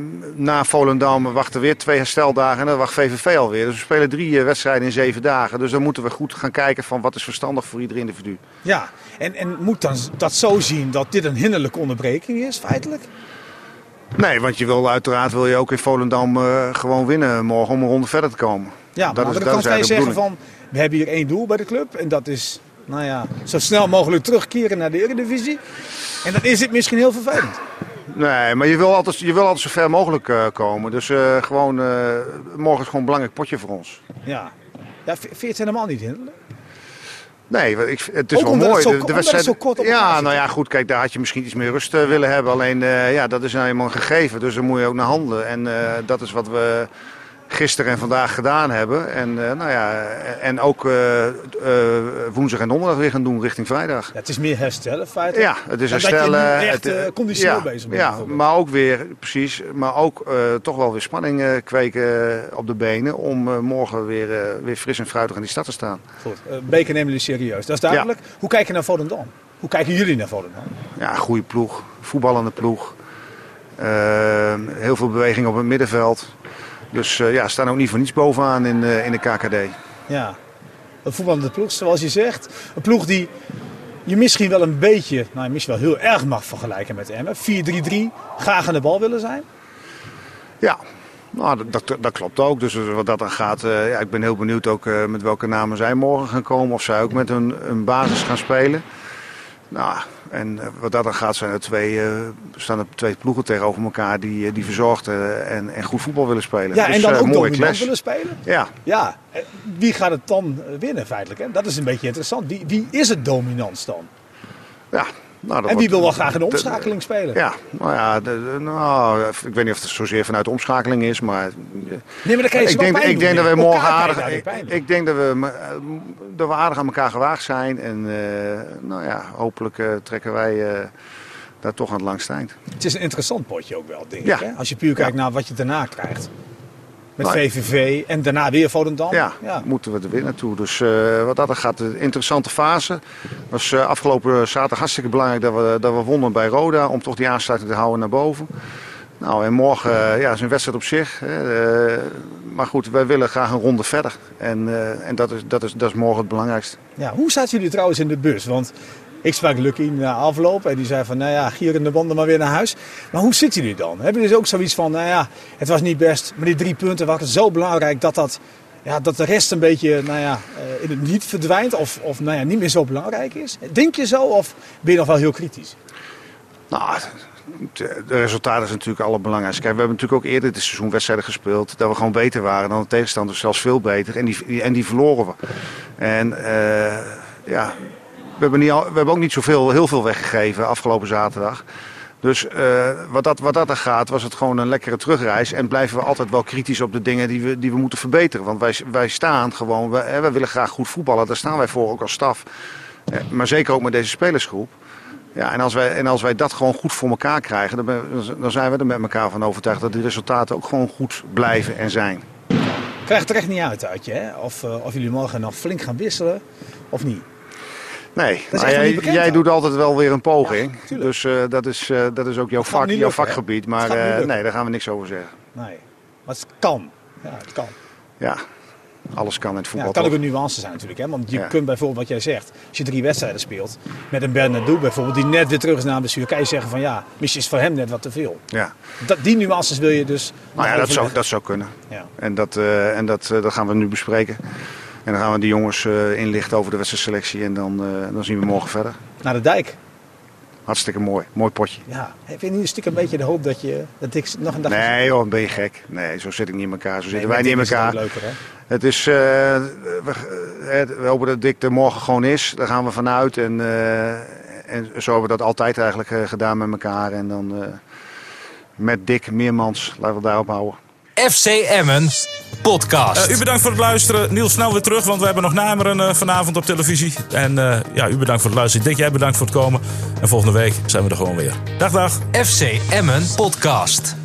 S6: na Volendam wachten weer twee hersteldagen en dan wacht VVV alweer. Dus we spelen drie eh, wedstrijden in zeven dagen. Dus dan moeten we goed gaan kijken van wat is verstandig voor ieder individu.
S2: Ja, en, en moet dan dat zo zien dat dit een hinderlijke onderbreking is, feitelijk?
S6: Nee, want je wil uiteraard wil je ook in Volendam eh, gewoon winnen morgen om een ronde verder te komen.
S2: Ja, maar dan kan jij
S6: eigenlijk de
S2: zeggen
S6: bedoeling.
S2: van, we hebben hier één doel bij de club. En dat is, nou ja, zo snel mogelijk terugkeren naar de Eredivisie. En dan is dit misschien heel vervelend.
S6: Nee, maar je wil altijd, je wil altijd zo ver mogelijk eh, komen. Dus eh, gewoon, eh, morgen is gewoon een belangrijk potje voor ons.
S2: Ja, ja v- vind je het helemaal niet hinderlijk?
S6: Nee, want ik, het is
S2: Ook
S6: wel
S2: omdat het
S6: mooi.
S2: zo- omdat het zo kort op elkaar
S6: ja,
S2: zit.
S6: nou ja, goed. Kijk, daar had je misschien iets meer rust eh, willen hebben. Alleen, eh, ja, dat is nou eenmaal een gegeven. Dus daar moet je ook naar handelen. En eh, dat is wat we gisteren en vandaag gedaan hebben. En, eh, nou ja, en ook eh, eh, woensdag en donderdag weer gaan doen richting vrijdag.
S2: Ja, het is meer herstellen, feitelijk.
S6: Ja, het is
S2: Dan dat je
S6: herstellen.
S2: nu echt,
S6: het, eh,
S2: eh, conditioneel
S6: ja,
S2: bezig bent,
S6: Ja,
S2: bijvoorbeeld.
S6: maar ook weer, precies. Maar ook eh, toch wel weer spanning eh, kweken eh, op de benen. Om eh, morgen weer, eh, weer fris en fruitig in die stad te staan.
S2: Goed, eh, Beker nemen jullie serieus, dat is duidelijk. Hoe kijk je naar Volendam? Hoe kijken jullie naar Volendam?
S6: Ja, goede ploeg. Voetballende ploeg. Eh, heel veel beweging op het middenveld. Dus eh, ja, staan ook niet voor niets bovenaan in, eh, in de KKD.
S2: Ja, een voetballende ploeg, zoals je zegt. Een ploeg die je misschien wel een beetje, nou misschien wel heel erg mag vergelijken met Emmen. 4-3-3, graag aan de bal willen zijn.
S6: Ja, nou, dat, dat, dat klopt ook. Dus wat dat dan gaat, eh, ja, ik ben heel benieuwd ook eh, met welke namen zij morgen gaan komen. Of zij ook met hun, hun basis gaan spelen. Nou, en eh, wat dat dan gaat, zijn er twee, eh, staan er twee ploegen tegenover elkaar die, eh, die verzorgd eh, en, en goed voetbal willen spelen.
S2: Ja,
S6: Dus,
S2: en dan
S6: eh,
S2: ook
S6: mooie
S2: dominant
S6: clash.
S2: willen spelen.
S6: Ja,
S2: Ja, eh, wie gaat het dan eh, winnen feitelijk? Hè? Dat is een beetje interessant. Wie, wie is het dominant dan?
S6: ja. Nou, dat
S2: En wie
S6: wordt-
S2: wil wel graag een
S6: dat-
S2: omschakeling spelen?
S6: Ja, nou ja, de- de- nou, ik weet niet of het zozeer vanuit de omschakeling is, maar eh,
S2: Nee, maar dan kan je ze
S6: ik
S2: wel
S6: denk,
S2: pijn
S6: ik
S2: doen,
S6: denk dat
S2: hè?
S6: we morgen
S2: Elkaar kan je
S6: aardig,
S2: daarin
S6: ik,
S2: pijn doen.
S6: ik denk dat we, eh, dat we aardig aan elkaar gewaagd zijn en eh, nou ja, hopelijk eh, trekken wij eh, daar toch aan het langste eind.
S2: Het is een interessant potje ook wel, denk
S6: Ja.
S2: ik. Hè? Als je puur kijkt naar wat je daarna krijgt. Met
S6: Nou,
S2: VVV en daarna weer Volendam.
S6: Ja, moeten we er weer naartoe. Dus eh, wat dat er gaat, een interessante fase. Was eh, afgelopen zaterdag hartstikke belangrijk dat we, dat we wonnen bij Roda. Om toch die aansluiting te houden naar boven. Nou, en morgen eh, ja, is een wedstrijd op zich. Hè, Eh, maar goed, wij willen graag een ronde verder. En, eh, en dat, is, dat, is, dat is morgen het belangrijkste.
S2: Ja, hoe zaten jullie trouwens in de bus? Want ik sprak Lucky na afloop en die zei van, nou ja, gier in de banden maar weer naar huis. Maar hoe zitten jullie dan? Hebben jullie dus ook zoiets van, nou ja, het was niet best, maar die drie punten waren zo belangrijk dat, dat, ja, dat de rest een beetje nou ja, eh, in het niet verdwijnt of, of nou ja, niet meer zo belangrijk is? Denk je zo of ben je nog wel heel kritisch?
S6: Nou, het- het- de resultaten zijn natuurlijk allerbelangrijkste. Kijk, we hebben natuurlijk ook eerder dit seizoen wedstrijden gespeeld. Dat we gewoon beter waren dan de tegenstanders, zelfs veel beter. En die, die- en die verloren we. En eh, ja, we hebben, niet al, we hebben ook niet zoveel, heel veel weggegeven afgelopen zaterdag. Dus eh, wat, dat, wat dat er gaat, was het gewoon een lekkere terugreis. En blijven we altijd wel kritisch op de dingen die we, die we moeten verbeteren. Want wij, wij staan gewoon, wij, hè, wij willen graag goed voetballen. Daar staan wij voor, ook als staf. Eh, maar zeker ook met deze spelersgroep. Ja, en als, wij, en als wij dat gewoon goed voor elkaar krijgen, dan, ben- dan zijn we er met elkaar van overtuigd dat die resultaten ook gewoon goed blijven en zijn.
S2: Krijgt er echt niet uit uit je, hè? Of, eh, of jullie morgen nog flink gaan wisselen of niet?
S6: Nee,
S2: echt
S6: maar
S2: nog
S6: jij,
S2: niet bekend,
S6: jij
S2: hoor.
S6: doet altijd wel weer een poging.
S2: Ja, tuurlijk.
S6: dus eh, dat, is, eh, dat is ook jouw,
S2: gaat
S6: vak,
S2: niet
S6: jouw
S2: lukken, hè?
S6: vakgebied.
S2: Het
S6: Maar
S2: gaat niet
S6: eh,
S2: lukken.
S6: nee, daar gaan we niks over zeggen.
S2: Nee, maar het kan. Ja, het kan.
S6: Ja, alles kan in het
S2: Ja,
S6: voetbal.
S2: het kan ook
S6: toch?
S2: een nuance zijn natuurlijk. Hè? Want je
S6: Ja.
S2: kunt bijvoorbeeld, wat jij zegt, als je drie wedstrijden speelt met een Bernardo bijvoorbeeld, die net weer terug is na een blessure, kan je zeggen van ja, misschien is voor hem net wat te veel.
S6: Ja.
S2: Dat, die nuances wil je dus.
S6: Nou ja,
S2: nog
S6: dat zou,
S2: overleggen.
S6: dat zou kunnen.
S2: Ja.
S6: En, dat, eh, en dat, eh, dat gaan we nu bespreken. En dan gaan we de jongens eh, inlichten over de wedstrijdselectie. En dan, eh, dan zien we morgen verder.
S5: Naar de dijk.
S6: Hartstikke mooi. Mooi potje.
S5: Ja, heb je niet een stiekem een beetje de hoop dat, je, dat ik nog een dag...
S6: Nee, joh, ben je gek? Nee, zo zit ik niet in elkaar.
S5: Nee,
S6: Zo zitten
S5: met
S6: wij niet in
S5: Dick is het
S6: elkaar.
S5: ook leuker, hè?
S6: Het is, eh, we, eh, we hopen dat Dick er morgen gewoon is. Daar gaan we vanuit. En, eh, en zo hebben we dat altijd eigenlijk eh, gedaan met elkaar. En dan eh, met Dick Meermans. Laten we daarop houden.
S3: FC Emmen podcast.
S1: Eh, u bedankt voor het luisteren. Niels, snel weer terug, want we hebben nog Nameren eh, vanavond op televisie. En eh, ja, u bedankt voor het luisteren. Dick, jij bedankt voor het komen. En volgende week zijn we er gewoon weer. Dag, dag.
S3: FC Emmen podcast.